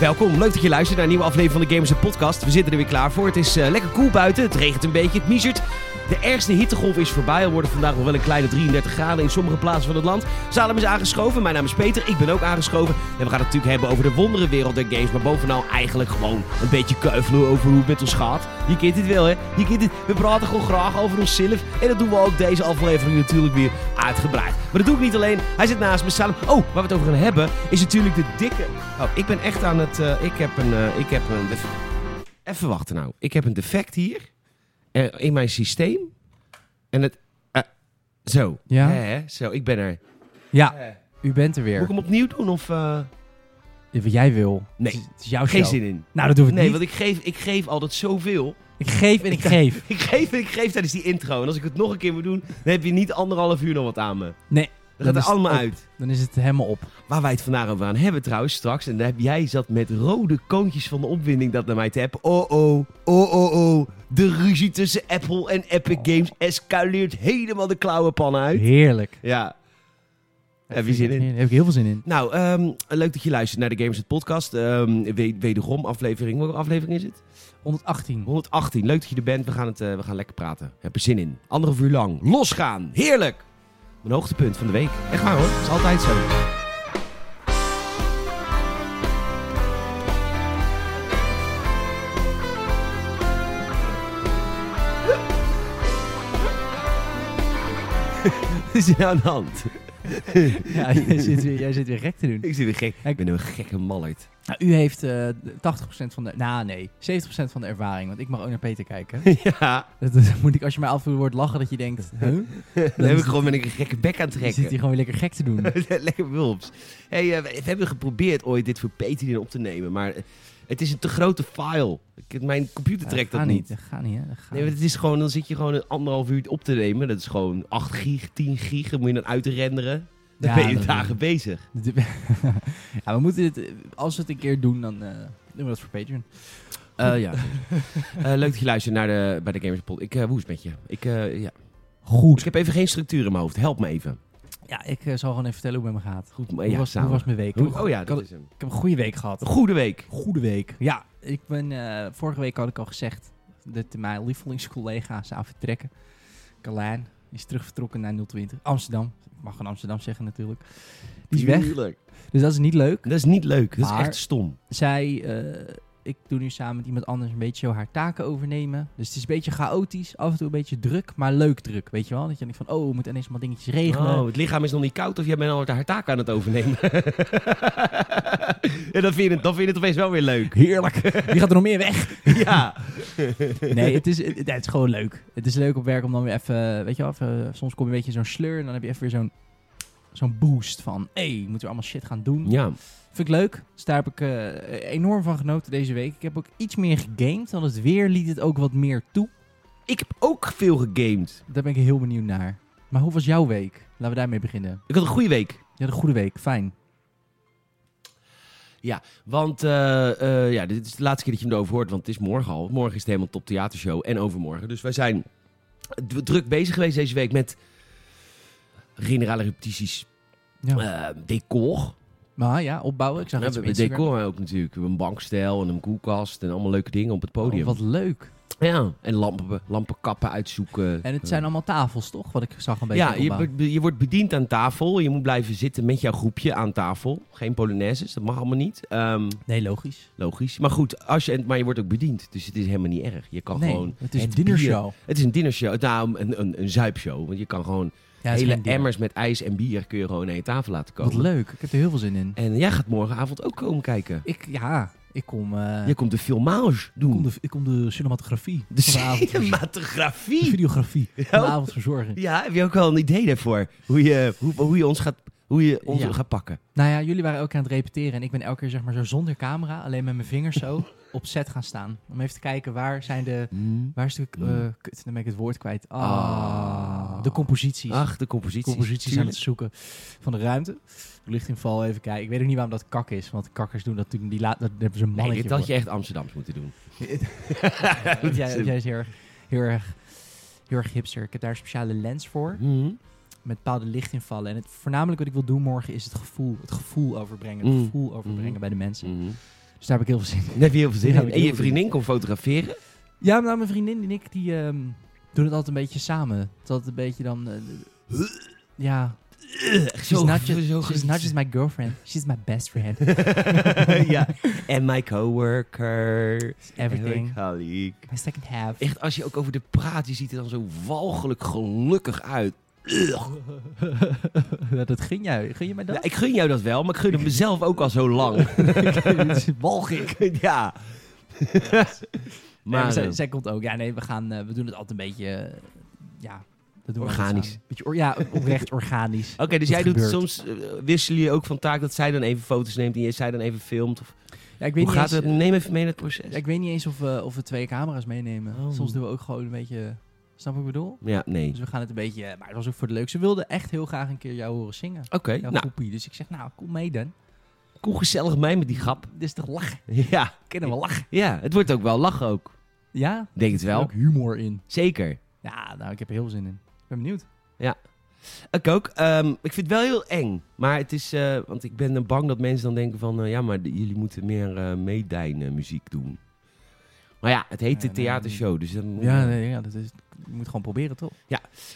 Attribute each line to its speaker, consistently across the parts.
Speaker 1: Welkom, leuk dat je luistert naar een nieuwe aflevering van de Gamers Podcast. We zitten er weer klaar voor. Het is eh, lekker koel buiten, het regent een beetje, het miezert. De ergste hittegolf is voorbij. Er worden vandaag nog wel een kleine 33 graden in sommige plaatsen van het land. Salem is aangeschoven, mijn naam is Peter, ik ben ook aangeschoven. En we gaan het natuurlijk hebben over de wonderenwereld der games. Maar bovenal eigenlijk gewoon een beetje keuvelen over hoe het met ons gaat. Je kent dit wel, hè? Je kent dit. We praten gewoon graag over onszelf. En dat doen we ook deze aflevering natuurlijk weer uitgebreid. Maar dat doe ik niet alleen. Hij zit naast me, Salem. Oh, waar we het over gaan hebben, is natuurlijk de dikke... Oh, ik ben echt aan het... eh, ik heb een... eh, ik heb een def- Even wachten nou. Ik heb een defect hier. eh, in mijn systeem. En het... eh, zo.
Speaker 2: Ja?
Speaker 1: Hè, hè? Zo, ik ben er.
Speaker 2: Ja,
Speaker 1: Eh,
Speaker 2: u bent er
Speaker 1: Moet ik
Speaker 2: weer.
Speaker 1: hem opnieuw doen of... eh,
Speaker 2: Ja, Wat jij wil.
Speaker 1: Nee.
Speaker 2: Het is, het is jouw
Speaker 1: geen
Speaker 2: show.
Speaker 1: zin in.
Speaker 2: Nou, dat doen we
Speaker 1: Nee,
Speaker 2: niet.
Speaker 1: want ik geef, ik geef altijd zoveel.
Speaker 2: Ik geef en ik geef.
Speaker 1: Ik geef en ik geef tijdens die intro. En als ik het nog een keer moet doen, dan heb je niet anderhalf uur nog wat aan me.
Speaker 2: Nee.
Speaker 1: Dat gaat
Speaker 2: is
Speaker 1: er
Speaker 2: het
Speaker 1: allemaal
Speaker 2: op.
Speaker 1: uit.
Speaker 2: Dan is het helemaal op.
Speaker 1: Waar wij het vandaag over aan hebben trouwens straks. En daar heb jij zat met rode koontjes van de opwinding dat naar mij te appen. Oh oh, oh oh oh. De ruzie tussen Apple en Epic Games escaleert helemaal de klauwenpan uit.
Speaker 2: Heerlijk.
Speaker 1: Ja. Heb je
Speaker 2: Vind
Speaker 1: zin
Speaker 2: ik-
Speaker 1: in?
Speaker 2: Daar heb ik heel veel zin in.
Speaker 1: Nou, ehm, leuk dat je luistert naar de Gamers het Podcast. Ehm, we- wederom aflevering. Welke aflevering is het?
Speaker 2: 118.
Speaker 1: 118. Leuk dat je er bent. We gaan, het, eh, we gaan lekker praten. We hebben zin in. Anderhalf uur lang. Losgaan. Heerlijk. Mijn hoogtepunt van de week. Echt waar hoor. is altijd zo. Wat is er nou aan de hand?
Speaker 2: Ja, jij zit weer, jij zit weer gek te doen.
Speaker 1: Ik zit weer gek. Ik
Speaker 2: Ik-
Speaker 1: ben een gekke mallert.
Speaker 2: Nou, u heeft eh 80% van de... Nou, nee. 70% van de ervaring. Want ik mag ook naar Peter kijken.
Speaker 1: Ja,
Speaker 2: dat, dat moet ik, als je mij af en toe hoort lachen, dat je denkt... Huh?
Speaker 1: dan heb ik gewoon ben ik een gekke bek aan het
Speaker 2: Je
Speaker 1: trekken.
Speaker 2: zit hier gewoon weer lekker gek te doen.
Speaker 1: Lekker wulps. Hey, eh, we we hebben geprobeerd ooit dit voor Patreon op te nemen, maar eh, het is een te grote file. Ik- Mijn computer trekt
Speaker 2: Ja,
Speaker 1: dat
Speaker 2: gaat
Speaker 1: niet.
Speaker 2: Dat gaat niet, hè. Dat gaat
Speaker 1: Nee, want
Speaker 2: niet.
Speaker 1: het is gewoon, dan zit je gewoon een anderhalf uur op te nemen. Dat is gewoon 8 gig, 10 gig. Dat moet je dan uitrenderen. Dan
Speaker 2: Ja,
Speaker 1: ben je
Speaker 2: dat-
Speaker 1: dagen bezig.
Speaker 2: ja, we moeten dit... eh, Als we het een keer doen, dan eh, doen we dat voor Patreon.
Speaker 1: Eh, ja. Eh, leuk dat je luistert naar de, bij de Gamers Pod. Ik, eh hoe is het met je? Ik, eh, ja.
Speaker 2: Goed.
Speaker 1: ik heb even geen structuur in mijn hoofd. Help me even.
Speaker 2: Ja, ik eh, zal gewoon even vertellen hoe het met me gaat.
Speaker 1: Goed, maar
Speaker 2: hoe,
Speaker 1: ja,
Speaker 2: was, hoe
Speaker 1: samen.
Speaker 2: was mijn week?
Speaker 1: Hoe- oh ja,
Speaker 2: ik, had,
Speaker 1: dat
Speaker 2: ik
Speaker 1: is hem.
Speaker 2: heb een goede week gehad.
Speaker 1: Goede week.
Speaker 2: Goede week. Ja, ik ben, eh, vorige week had ik al gezegd dat mijn lievelingscollega zou vertrekken. Carlijn is terug vertrokken naar 020. Amsterdam. Ik mag gewoon Amsterdam zeggen natuurlijk. Die is weg.
Speaker 1: Tuurlijk.
Speaker 2: Dus dat is niet leuk.
Speaker 1: Dat is niet leuk. Dat is
Speaker 2: Maar-
Speaker 1: echt stom.
Speaker 2: Zij, eh, ik doe nu samen met iemand anders een beetje zo haar taken overnemen. Dus het is een beetje chaotisch. Af en toe een beetje druk, maar leuk druk. Weet je wel? Dat je denkt van, oh, we moeten ineens maar dingetjes regelen.
Speaker 1: Oh, het lichaam is nog niet koud of jij bent al haar taak aan het overnemen. en dan vind, je het, dan vind je het opeens wel weer leuk.
Speaker 2: Heerlijk. Wie gaat er nog meer weg?
Speaker 1: ja.
Speaker 2: Nee, het is, het, het is gewoon leuk. Het is leuk op werk om dan weer even, weet je wel, even- eh, soms kom je een beetje in zo'n sleur en dan heb je even weer zo'n zo'n boost van, hé, hey, moeten we allemaal shit gaan doen.
Speaker 1: Ja.
Speaker 2: Vind ik leuk. Dus daar heb ik eh, enorm van genoten deze week. Ik heb ook iets meer gegamed, want het weer liet het ook wat meer toe.
Speaker 1: Ik heb ook veel gegamed.
Speaker 2: Daar ben ik heel benieuwd naar. Maar hoe was jouw week? Laten we daarmee beginnen.
Speaker 1: Ik had een goede week.
Speaker 2: Ja, de goede week. Fijn.
Speaker 1: Want eh, eh, ja, dit is de laatste keer dat je me erover hoort, want het is morgen al. Morgen is het helemaal top theatershow en overmorgen. Dus wij zijn d- druk bezig geweest deze week met generale repetities.
Speaker 2: Ja.
Speaker 1: Eh, decor.
Speaker 2: maar ja, opbouwen. Ik zag
Speaker 1: Ja,
Speaker 2: iets op
Speaker 1: met
Speaker 2: Instagram.
Speaker 1: decor ook natuurlijk. We hebben Een bankstijl en een koelkast en allemaal leuke dingen op het podium.
Speaker 2: Oh, wat leuk.
Speaker 1: Ja, en lampen, lampenkappen uitzoeken.
Speaker 2: En het
Speaker 1: Eh,
Speaker 2: zijn allemaal tafels, toch? Wat ik zag een beetje
Speaker 1: Ja, je,
Speaker 2: opbouwen.
Speaker 1: wordt- je wordt bediend aan tafel. Je moet blijven zitten met jouw groepje aan tafel. Geen polonaises, dat mag allemaal niet. Ehm,
Speaker 2: Nee, logisch.
Speaker 1: logisch. Maar goed, als je, en- maar je wordt ook bediend. Dus het is helemaal niet erg. Je kan
Speaker 2: nee,
Speaker 1: Oh, gewoon...
Speaker 2: het is een
Speaker 1: het bier-
Speaker 2: dinnershow.
Speaker 1: Het is een dinnershow. Nou, een, een, een zuipshow. Want je kan gewoon
Speaker 2: Ja, het is
Speaker 1: hele
Speaker 2: geen dinner.
Speaker 1: emmers met ijs en bier... kun je gewoon naar je tafel laten komen.
Speaker 2: Wat leuk, ik heb er heel veel zin in.
Speaker 1: En jij gaat morgenavond ook komen kijken.
Speaker 2: Ik, ja, ik kom, eh,
Speaker 1: Je komt de filmage
Speaker 2: ik kom
Speaker 1: doen.
Speaker 2: de, ik kom de cinematografie
Speaker 1: De
Speaker 2: vanavond verzorgen. De
Speaker 1: cinematografie.
Speaker 2: videografie vanavond verzorgen.
Speaker 1: Ja, heb je ook al een idee daarvoor? Hoe je, hoe, hoe je ons, gaat, hoe je ons
Speaker 2: Ja.
Speaker 1: gaat pakken.
Speaker 2: Nou ja, jullie waren ook aan het repeteren en ik ben elke keer zeg maar zo zonder camera, alleen met mijn vingers zo op set gaan staan. Om even te kijken waar zijn de, waar is de, eh, kut, dan ben ik het woord kwijt. Ah,
Speaker 1: Hmm. Ah.
Speaker 2: De composities.
Speaker 1: Ach, de composities.
Speaker 2: composities aan het zoeken van de ruimte. Lichtinval even kijken. Ik weet ook niet waarom dat kak is. Want kakkers doen dat natuurlijk die laat. Dat daar hebben ze een
Speaker 1: Nee,
Speaker 2: mannetje
Speaker 1: dit had
Speaker 2: voor.
Speaker 1: je echt Amsterdams moeten doen.
Speaker 2: Ja, want jij, want jij is heel erg, heel erg, heel erg hipster. Ik heb daar een speciale lens voor.
Speaker 1: Hmm.
Speaker 2: Met bepaalde lichtinvallen. En het, voornamelijk wat ik wil doen morgen is het gevoel. Het gevoel overbrengen. Het
Speaker 1: Mm.
Speaker 2: gevoel overbrengen
Speaker 1: Mhm.
Speaker 2: bij de mensen.
Speaker 1: Mhm.
Speaker 2: Dus daar heb ik heel veel zin in.
Speaker 1: Daar heb je heel veel zin
Speaker 2: Ja,
Speaker 1: in.
Speaker 2: ik
Speaker 1: En je
Speaker 2: heel
Speaker 1: vriendin kon fotograferen.
Speaker 2: Ja, nou, mijn vriendin en ik die ehm, doen het altijd een beetje samen. Het is altijd een beetje dan... eh, ja,
Speaker 1: Echt
Speaker 2: she's,
Speaker 1: zo,
Speaker 2: not just,
Speaker 1: zo
Speaker 2: she's not just my girlfriend. She's my best friend.
Speaker 1: ja. En my coworker.
Speaker 2: Everything.
Speaker 1: En mijn colleague.
Speaker 2: My second half.
Speaker 1: Echt, als je ook over de praat, je ziet er dan zo walgelijk gelukkig uit.
Speaker 2: Ja, dat ging jij. Ging je mij dat?
Speaker 1: Ja, Nou, ik gun jou dat wel, maar ik gun het mezelf ook al zo lang.
Speaker 2: Het is walgelijk.
Speaker 1: ja.
Speaker 2: Maar
Speaker 1: maar
Speaker 2: zij,
Speaker 1: eh,
Speaker 2: zij komt ook. Ja, nee, we, gaan, eh, we doen het altijd een beetje... eh, ja, dat doen we altijd
Speaker 1: Organisch.
Speaker 2: samen. Beetje or- ja, oprecht organisch.
Speaker 1: Oké, dus jij doet
Speaker 2: gebeurt.
Speaker 1: soms, eh, wisselen jullie ook van taak dat zij dan even foto's neemt en jij- zij dan even filmt? Of,
Speaker 2: Ja, ik weet
Speaker 1: hoe
Speaker 2: niet
Speaker 1: gaat
Speaker 2: eens,
Speaker 1: het? Neem even mee naar het proces.
Speaker 2: ja, ik weet niet eens of, we- of we twee camera's meenemen.
Speaker 1: Oh.
Speaker 2: Soms doen we ook gewoon een beetje... Snap wat ik bedoel?
Speaker 1: Ja, nee.
Speaker 2: Dus we gaan het een beetje... eh, Maar het was ook voor de leuk. Ze wilde echt heel graag een keer jou horen zingen.
Speaker 1: Oké,
Speaker 2: Jouw
Speaker 1: nou,
Speaker 2: groepie. Dus ik zeg, nou, kom mee dan.
Speaker 1: kom gezellig mee met die grap.
Speaker 2: Dit is toch lachen?
Speaker 1: Ja,
Speaker 2: Kennen we lachen?
Speaker 1: ja, het wordt ook wel lachen ook.
Speaker 2: Ja?
Speaker 1: Ik Denk het
Speaker 2: Er
Speaker 1: wel.
Speaker 2: ook humor in.
Speaker 1: Zeker.
Speaker 2: Ja, nou, ik heb er heel veel zin in. Ik ben benieuwd.
Speaker 1: Ik ook. Ehm, ik vind het wel heel eng. Maar het is, eh, want ik ben dan bang dat mensen dan denken van, eh, ja, maar de- jullie moeten meer eh meedijnen muziek doen. Maar ja, het heet
Speaker 2: Ja,
Speaker 1: de
Speaker 2: nee,
Speaker 1: theatershow, dus dan...
Speaker 2: Ja, nee, ja dat is, je moet gewoon proberen, toch?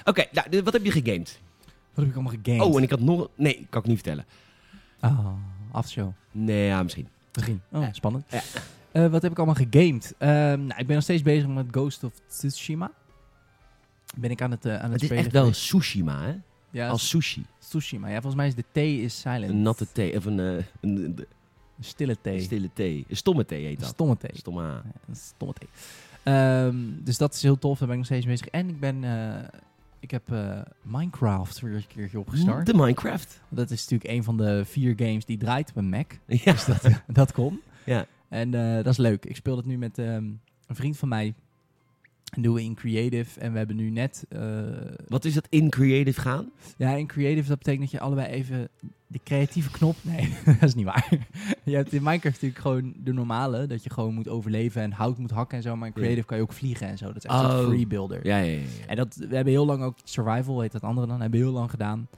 Speaker 1: Oké, nou, dit- wat heb je gegamed?
Speaker 2: Wat heb ik allemaal gegamed?
Speaker 1: Oh, en ik had nog... Nee, kan ik niet vertellen.
Speaker 2: Ah, afshow.
Speaker 1: Nee, ja, misschien.
Speaker 2: Begin. Oh,
Speaker 1: Ja.
Speaker 2: spannend.
Speaker 1: Ja.
Speaker 2: Eh, wat heb ik allemaal gegamed? Ehm, nou, ik ben nog steeds bezig met Ghost of Tsushima. Ben ik aan het, eh, aan het,
Speaker 1: Het is
Speaker 2: spelen
Speaker 1: echt wel
Speaker 2: geweest.
Speaker 1: Sushima, hè?
Speaker 2: ja,
Speaker 1: Als sushi.
Speaker 2: Tsushima. Ja, volgens mij is de thee is silent.
Speaker 1: Een natte thee, of een, eh, een, een-
Speaker 2: Een stille thee.
Speaker 1: een stille thee. Een stomme thee heet
Speaker 2: Een
Speaker 1: dat.
Speaker 2: stomme thee.
Speaker 1: Stomma.
Speaker 2: Ja, een stomme thee. Ehm, dus dat is heel tof. Daar ben ik nog steeds mee bezig. En ik ben... eh, ik heb eh, Minecraft weer een keertje opgestart.
Speaker 1: Hmm, De Minecraft.
Speaker 2: Dat is natuurlijk een van de vier games die draait op een Mac.
Speaker 1: Ja.
Speaker 2: Dus dat, dat kon.
Speaker 1: Ja.
Speaker 2: En eh, dat is leuk. Ik speel dat nu met ehm, een vriend van mij. En doen we in Creative. En we hebben nu net... eh,
Speaker 1: Wat is dat in creative gaan?
Speaker 2: ja, in Creative, dat betekent dat je allebei even de creatieve knop... Nee, dat is niet waar. je hebt in Minecraft natuurlijk gewoon de normale. Dat je gewoon moet overleven en hout moet hakken en zo. Maar in
Speaker 1: Ja.
Speaker 2: Creative kan je ook vliegen en zo. Dat is echt een
Speaker 1: Oh.
Speaker 2: free builder.
Speaker 1: Ja, ja, ja. ja.
Speaker 2: En dat, we hebben heel lang ook Survival, heet dat andere dan, hebben we heel lang gedaan.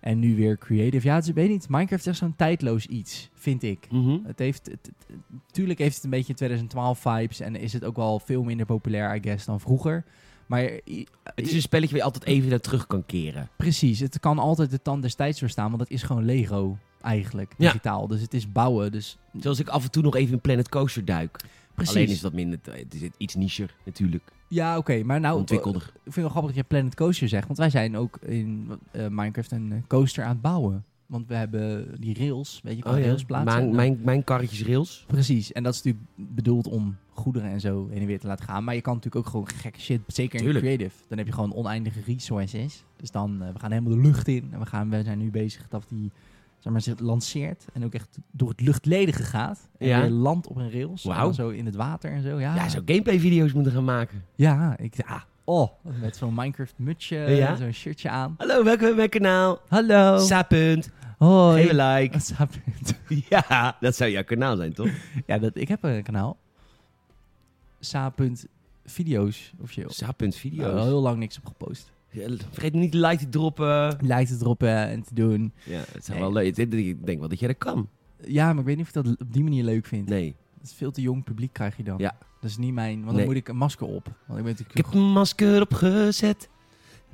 Speaker 2: En nu weer Creative. Ja, het is, ik weet niet, Minecraft is echt zo'n tijdloos iets, vind ik.
Speaker 1: Mhm.
Speaker 2: Het heeft, het, het- tuurlijk heeft het een beetje 2012 vibes en is het ook wel veel minder populair, I guess, dan vroeger. Maar i-
Speaker 1: Het is een spelletje waar je altijd even naar terug kan keren.
Speaker 2: precies, het kan altijd de tand des tijds doorstaan, want het is gewoon Lego eigenlijk,
Speaker 1: Ja.
Speaker 2: digitaal. Dus het is bouwen, dus
Speaker 1: Zoals ik af en toe nog even in Planet Coaster duik.
Speaker 2: precies.
Speaker 1: Alleen is dat minder... Het is iets nicher natuurlijk.
Speaker 2: Ja, oké, maar
Speaker 1: oh,
Speaker 2: nou...
Speaker 1: Ontwikkelder.
Speaker 2: Ik vind het wel grappig dat je Planet Coaster zegt. Want wij zijn ook in eh, Minecraft een eh, coaster aan het bouwen. Want we hebben die rails, weet je,
Speaker 1: Oh
Speaker 2: je kan rails plaatsen. En
Speaker 1: Mijn,
Speaker 2: dan-
Speaker 1: mijn, mijn karretjes rails.
Speaker 2: Precies, en dat is natuurlijk bedoeld om goederen en zo heen en weer te laten gaan. Maar je kan natuurlijk ook gewoon gekke shit, zeker in
Speaker 1: Tuurlijk.
Speaker 2: creative. Dan heb je gewoon oneindige resources. Dus dan, eh, we gaan helemaal de lucht in. En we, gaan, we zijn nu bezig dat die, zeg maar, zich lanceert. En ook echt door het luchtledige gaat. En
Speaker 1: Ja.
Speaker 2: weer land op een rails. En
Speaker 1: Wauw.
Speaker 2: dan zo in het water en zo. Ja,
Speaker 1: Ja, zou gameplay-video's moeten gaan maken.
Speaker 2: Ja, ik, ja. Oh, met zo'n Minecraft mutsje,
Speaker 1: Ja?
Speaker 2: en zo'n shirtje aan.
Speaker 1: Hallo, welkom bij mijn kanaal.
Speaker 2: Hallo.
Speaker 1: Oh. Sapunt.
Speaker 2: Hoi.
Speaker 1: Geef een like.
Speaker 2: Saap.
Speaker 1: Ja, dat zou jouw kanaal zijn, toch?
Speaker 2: ja, dat, ik heb een kanaal. Sa.video's officieel.
Speaker 1: Sapunt
Speaker 2: Daar heb ik
Speaker 1: video's.
Speaker 2: al heel lang niks op gepost.
Speaker 1: Ja, Vergeet niet de like te droppen.
Speaker 2: Lijkt het erop eh, en te doen.
Speaker 1: Ja, het
Speaker 2: Nee.
Speaker 1: zijn wel leuk. Ik- Ik denk wel dat jij dat kan.
Speaker 2: Ja, maar ik weet niet of ik dat op die manier leuk vind.
Speaker 1: Nee.
Speaker 2: Het is veel te jong publiek krijg je dan.
Speaker 1: Ja.
Speaker 2: Dat is niet mijn, want dan
Speaker 1: Nee.
Speaker 2: moet ik een masker op. Want ik ben natuurlijk...
Speaker 1: Ik heb een masker opgezet.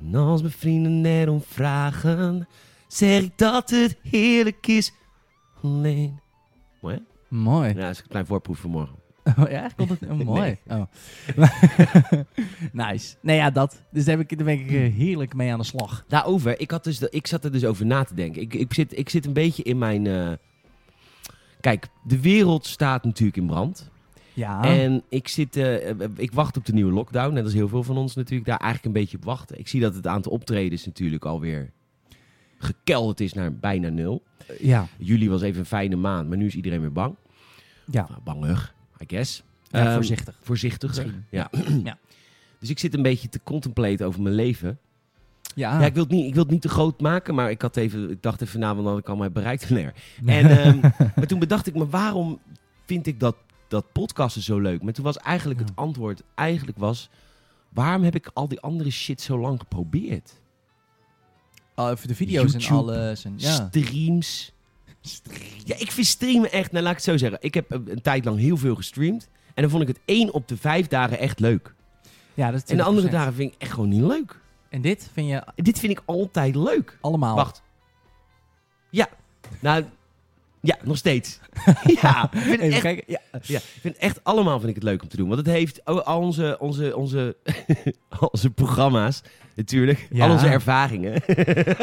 Speaker 1: En als mijn vrienden erom vragen, zeg ik dat het heerlijk is. Alleen. Mooi, hè?
Speaker 2: Mooi.
Speaker 1: Ja, dat is een klein voorproef voor morgen.
Speaker 2: Oh, ja, echt? Komt het? oh, mooi. Oh. nice. Nee, ja, dat. Dus daar, heb ik, daar ben ik
Speaker 1: Hm.
Speaker 2: eh, heerlijk mee aan de slag.
Speaker 1: Daarover, ik, had dus, de- ik zat er dus over na te denken. Ik, ik, zit, ik zit een beetje in mijn... eh, Kijk, de wereld staat natuurlijk in brand.
Speaker 2: Ja.
Speaker 1: En ik, zit, eh, ik wacht op de nieuwe lockdown. En dat is heel veel van ons natuurlijk daar eigenlijk een beetje op wachten. Ik zie dat het aantal optredens natuurlijk alweer gekelderd is naar bijna nul.
Speaker 2: ja.
Speaker 1: Juli was even een fijne maand, maar nu is iedereen weer bang.
Speaker 2: Ja.
Speaker 1: Nou, bangig, I guess.
Speaker 2: Ja,
Speaker 1: Ehm,
Speaker 2: voorzichtig.
Speaker 1: Voorzichtiger.
Speaker 2: Misschien.
Speaker 1: Ja.
Speaker 2: Ja.
Speaker 1: Dus ik zit een beetje te contemplaten over mijn leven.
Speaker 2: Ja,
Speaker 1: Ja, ik wil, het niet, ik wil het niet te groot maken, maar ik, had even, ik dacht even na, want dan had ik al mijn bereikt. Nee. En, ehm, maar toen bedacht ik me, waarom vind ik dat, dat podcasten zo leuk? Maar toen was eigenlijk
Speaker 2: Ja.
Speaker 1: het antwoord, eigenlijk was, waarom heb ik al die andere shit zo lang geprobeerd?
Speaker 2: al Oh, even de video's en
Speaker 1: YouTube.
Speaker 2: alles. En, ja.
Speaker 1: Streams. Ja, ik vind streamen echt, nou laat ik het zo zeggen. Ik heb een, een tijd lang heel veel gestreamd. En dan vond ik het één op de vijf dagen echt leuk.
Speaker 2: ja, dat is
Speaker 1: En de andere
Speaker 2: 20%.
Speaker 1: dagen vind ik echt gewoon niet leuk.
Speaker 2: En dit vind je
Speaker 1: En dit vind ik altijd leuk.
Speaker 2: allemaal.
Speaker 1: Wacht. Ja. Nou, ja, nog steeds. ja, ik vind, het
Speaker 2: Even
Speaker 1: echt,
Speaker 2: kijken. Ja.
Speaker 1: ja, ik vind het echt allemaal vind ik het leuk om te doen. Want het heeft al al onze, onze, onze, al onze programma's natuurlijk.
Speaker 2: Ja.
Speaker 1: Al onze ervaringen.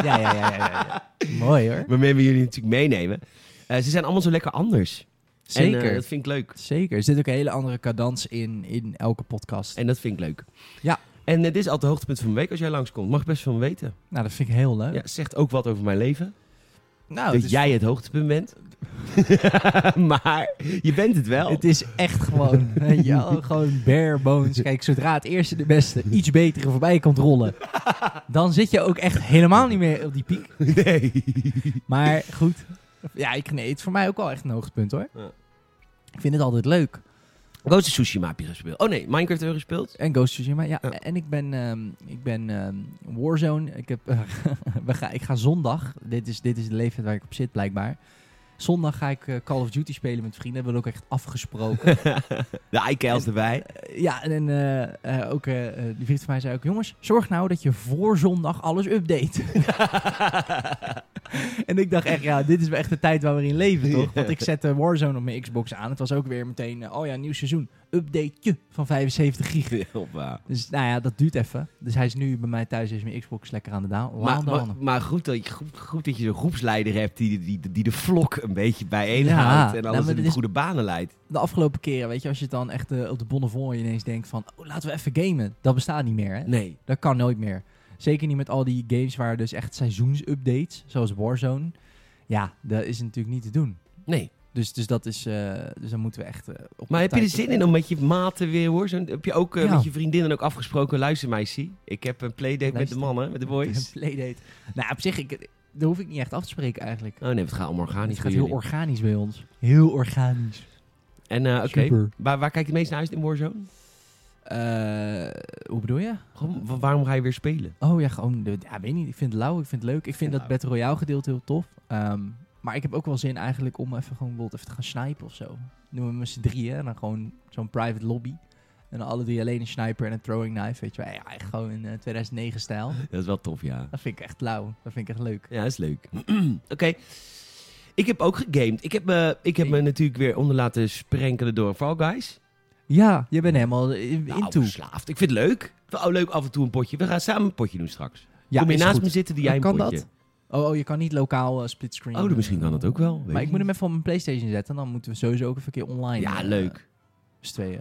Speaker 2: Ja, ja, ja, ja, ja, ja. Mooi hoor.
Speaker 1: waarmee we jullie natuurlijk meenemen. Eh, ze zijn allemaal zo lekker anders.
Speaker 2: Zeker.
Speaker 1: En eh, dat vind ik leuk.
Speaker 2: Zeker. Er zit ook een hele andere cadans in, in elke podcast.
Speaker 1: En dat vind ik leuk.
Speaker 2: Ja.
Speaker 1: En eh, dit is altijd het hoogtepunt van de week als jij langskomt. Mag ik best van weten.
Speaker 2: Nou, dat vind ik heel leuk.
Speaker 1: Ja, zegt ook wat over mijn leven.
Speaker 2: Nou,
Speaker 1: dat
Speaker 2: het is,
Speaker 1: jij het hoogtepunt bent. maar je bent het wel.
Speaker 2: het is echt gewoon, weet je wel, gewoon bare bones. Kijk, zodra het eerste de beste iets betere voorbij komt rollen, dan zit je ook echt helemaal niet meer op die piek.
Speaker 1: Nee.
Speaker 2: Maar goed, ja, ik, nee, het is voor mij ook wel echt een hoogtepunt hoor.
Speaker 1: Ja.
Speaker 2: Ik vind het altijd leuk.
Speaker 1: Ghost of Tsushima heb je gespeeld. Oh nee, Minecraft heb je gespeeld.
Speaker 2: En Ghost of Tsushima, ja.
Speaker 1: Ja.
Speaker 2: En ik ben, ehm, ik ben ehm, Warzone. Ik, heb, eh, we ga, ik ga zondag, dit is, dit is de leeftijd waar ik op zit blijkbaar. Zondag ga ik eh, Call of Duty spelen met vrienden. We hebben we ook echt afgesproken.
Speaker 1: De iCals erbij.
Speaker 2: Eh, ja, en eh, eh, ook eh, eh, die vriend van mij zei ook... Jongens, zorg nou dat je voor zondag alles update. en ik dacht echt, ja, dit is wel echt de tijd waar we in leven, toch? Want ik zette Warzone op mijn Xbox aan. Het was ook weer meteen, eh, oh ja, nieuw seizoen. Updateje van 75 gig.
Speaker 1: Hoppa.
Speaker 2: Dus nou ja, dat duurt even. Dus hij is nu bij mij thuis, is mijn Xbox lekker aan de down.
Speaker 1: Maar, maar,
Speaker 2: down.
Speaker 1: maar goed, dat je, goed, goed dat je zo'n groepsleider hebt die, die, die de vlok een beetje bijeen
Speaker 2: Ja.
Speaker 1: houdt en
Speaker 2: Nou,
Speaker 1: alles
Speaker 2: maar
Speaker 1: in
Speaker 2: dit
Speaker 1: de
Speaker 2: is-
Speaker 1: goede banen leidt.
Speaker 2: De afgelopen keren, weet je, als je het dan echt eh, op de Bonnefoy ineens denkt van... Oh, laten we even gamen. Dat bestaat niet meer, hè?
Speaker 1: Nee.
Speaker 2: Dat kan nooit meer. Zeker niet met al die games waar dus echt seizoensupdates, zoals Warzone. Ja, dat is natuurlijk niet te doen.
Speaker 1: Nee.
Speaker 2: Dus, dus dat is, eh, dus dan moeten we echt eh, op
Speaker 1: Maar
Speaker 2: de
Speaker 1: heb je er
Speaker 2: tijd-
Speaker 1: zin in om met je maten weer hoor? Zo'n- heb je ook eh,
Speaker 2: Ja.
Speaker 1: met je vriendinnen ook afgesproken? Luister meisje, ik heb een playdate met de
Speaker 2: Luister.
Speaker 1: mannen, met de boys.
Speaker 2: Playdate. Nou, op zich, ik, daar hoef ik niet echt af te spreken eigenlijk.
Speaker 1: Oh nee, het gaat allemaal organisch
Speaker 2: het gaat
Speaker 1: bij
Speaker 2: heel
Speaker 1: jullie.
Speaker 2: organisch bij ons. Heel organisch.
Speaker 1: En eh, oké,
Speaker 2: Super.
Speaker 1: waar, waar kijk je het meest naar uit in Warzone?
Speaker 2: Eh, hoe bedoel je?
Speaker 1: Gewoon, wa- waarom ga je weer spelen?
Speaker 2: Oh ja, gewoon, de- ja, weet niet. Ik vind het lauw, ik vind het leuk. Ik vind
Speaker 1: Ja.
Speaker 2: dat Battle Royale gedeelte heel tof. Ehm, maar ik heb ook wel zin eigenlijk om even gewoon bijvoorbeeld even te gaan snipen of zo. Noemen we met z'n drieën en dan gewoon zo'n private lobby. En dan alle drie alleen een sniper en een throwing knife, weet je wel. Ja, echt gewoon in 2009 stijl.
Speaker 1: Dat is wel tof, ja.
Speaker 2: Dat vind ik echt lauw. Dat vind ik echt leuk.
Speaker 1: Ja, dat is leuk. Oké. Ik heb ook gegamed. Ik heb, me ik heb me natuurlijk weer onder laten sprenkelen door Fall Guys.
Speaker 2: Ja, je bent helemaal eh,
Speaker 1: Nou,
Speaker 2: into.
Speaker 1: verslaafd. Ik vind het leuk. Oh, leuk af en toe een potje. We gaan samen een potje doen straks.
Speaker 2: Ja,
Speaker 1: Kom je
Speaker 2: is
Speaker 1: naast
Speaker 2: goed.
Speaker 1: me zitten, die jij een
Speaker 2: kan
Speaker 1: potje.
Speaker 2: dat? Oh, oh, je kan niet lokaal eh, split screen.
Speaker 1: Oh, dan misschien kan dat ook wel. weet
Speaker 2: Maar ik
Speaker 1: je
Speaker 2: moet hem
Speaker 1: niet.
Speaker 2: even op mijn Playstation zetten. Dan moeten we sowieso ook even een keer online.
Speaker 1: Ja,
Speaker 2: eh,
Speaker 1: leuk.
Speaker 2: z'n tweeën.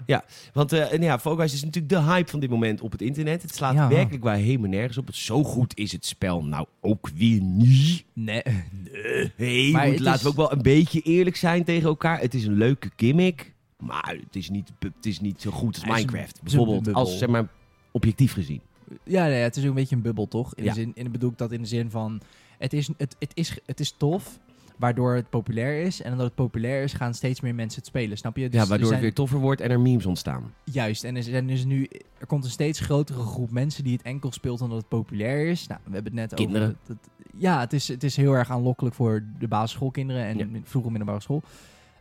Speaker 1: Want eh en ja, Fall Guys is natuurlijk de hype van dit moment op het internet. Het slaat
Speaker 2: Ja.
Speaker 1: werkelijk waar helemaal nergens op. Zo goed is het spel nou ook weer niet.
Speaker 2: Nee.
Speaker 1: Eh, Hey,
Speaker 2: Maar
Speaker 1: moet-
Speaker 2: het
Speaker 1: laten
Speaker 2: is-
Speaker 1: we ook wel een beetje eerlijk zijn tegen elkaar. Het is een leuke gimmick, maar het is niet, het is niet zo goed als
Speaker 2: Hij is een-
Speaker 1: Minecraft.
Speaker 2: het is een
Speaker 1: bijvoorbeeld,
Speaker 2: bubbel.
Speaker 1: als zeg maar objectief gezien.
Speaker 2: Ja, nee, het is ook een beetje een bubbel, toch? In,
Speaker 1: Ja.
Speaker 2: de zin, in bedoel ik dat in de zin van... Het is, het, het, is, het is tof, waardoor het populair is. En omdat het populair is, gaan steeds meer mensen het spelen, snap je? Dus
Speaker 1: ja,
Speaker 2: er
Speaker 1: waardoor het
Speaker 2: zijn-
Speaker 1: weer toffer wordt en er memes ontstaan.
Speaker 2: Juist, en er, zijn dus nu, er komt een steeds grotere groep mensen die het enkel speelt omdat het populair is. Nou, we hebben het net
Speaker 1: Kinderen.
Speaker 2: over... dat- dat- ja, het is, het is heel erg aanlokkelijk voor de basisschoolkinderen en
Speaker 1: Ja.
Speaker 2: vroeger middelbare school.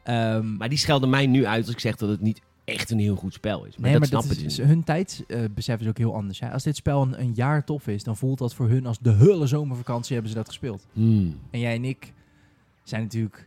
Speaker 2: Ehm,
Speaker 1: Maar die schelden mij nu uit als ik zeg dat het niet echt een heel goed spel is. Maar dat
Speaker 2: nee, maar
Speaker 1: snappen
Speaker 2: dat
Speaker 1: ze
Speaker 2: is, dus,
Speaker 1: niet.
Speaker 2: hun tijdsbesef is ook heel anders. Hè? Als dit spel een, een jaar tof is, dan voelt dat voor hun als de hele zomervakantie hebben ze dat gespeeld.
Speaker 1: Hmm.
Speaker 2: En jij en ik zijn natuurlijk.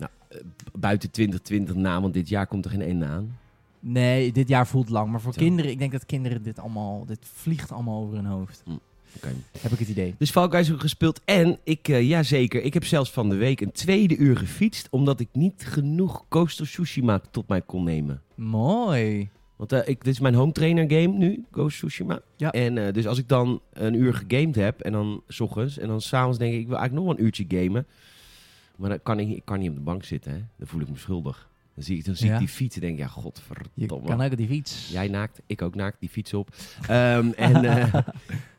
Speaker 1: Buiten 2020 na, want dit jaar komt er geen ene aan.
Speaker 2: Nee, dit jaar voelt lang. Maar voor
Speaker 1: Zo.
Speaker 2: kinderen, ik denk dat kinderen dit allemaal. Dit vliegt allemaal over hun hoofd.
Speaker 1: Mm, Oké.
Speaker 2: Heb ik het idee.
Speaker 1: Dus Fall Guys heb ik gespeeld en ik, eh jazeker, ik heb zelfs van de week een tweede uur gefietst... omdat ik niet genoeg Ghost of Tsushima tot mij kon nemen.
Speaker 2: Mooi.
Speaker 1: Want eh, ik, dit is mijn home trainer game nu, Ghost of Tsushima.
Speaker 2: Ja.
Speaker 1: En eh, dus als ik dan een uur gegamed heb en dan s ochtends en dan s'avonds denk ik, ik wil eigenlijk nog wel een uurtje gamen. Maar dan kan ik, ik kan niet op de bank zitten, hè. Dan voel ik me schuldig. Dan zie ik, dan zie ik
Speaker 2: Ja.
Speaker 1: die fiets en denk ik, ja,
Speaker 2: Je
Speaker 1: godverdomme.
Speaker 2: kan ook die fiets.
Speaker 1: Jij naakt, ik ook naakt, die fiets op. Ehm, en, eh,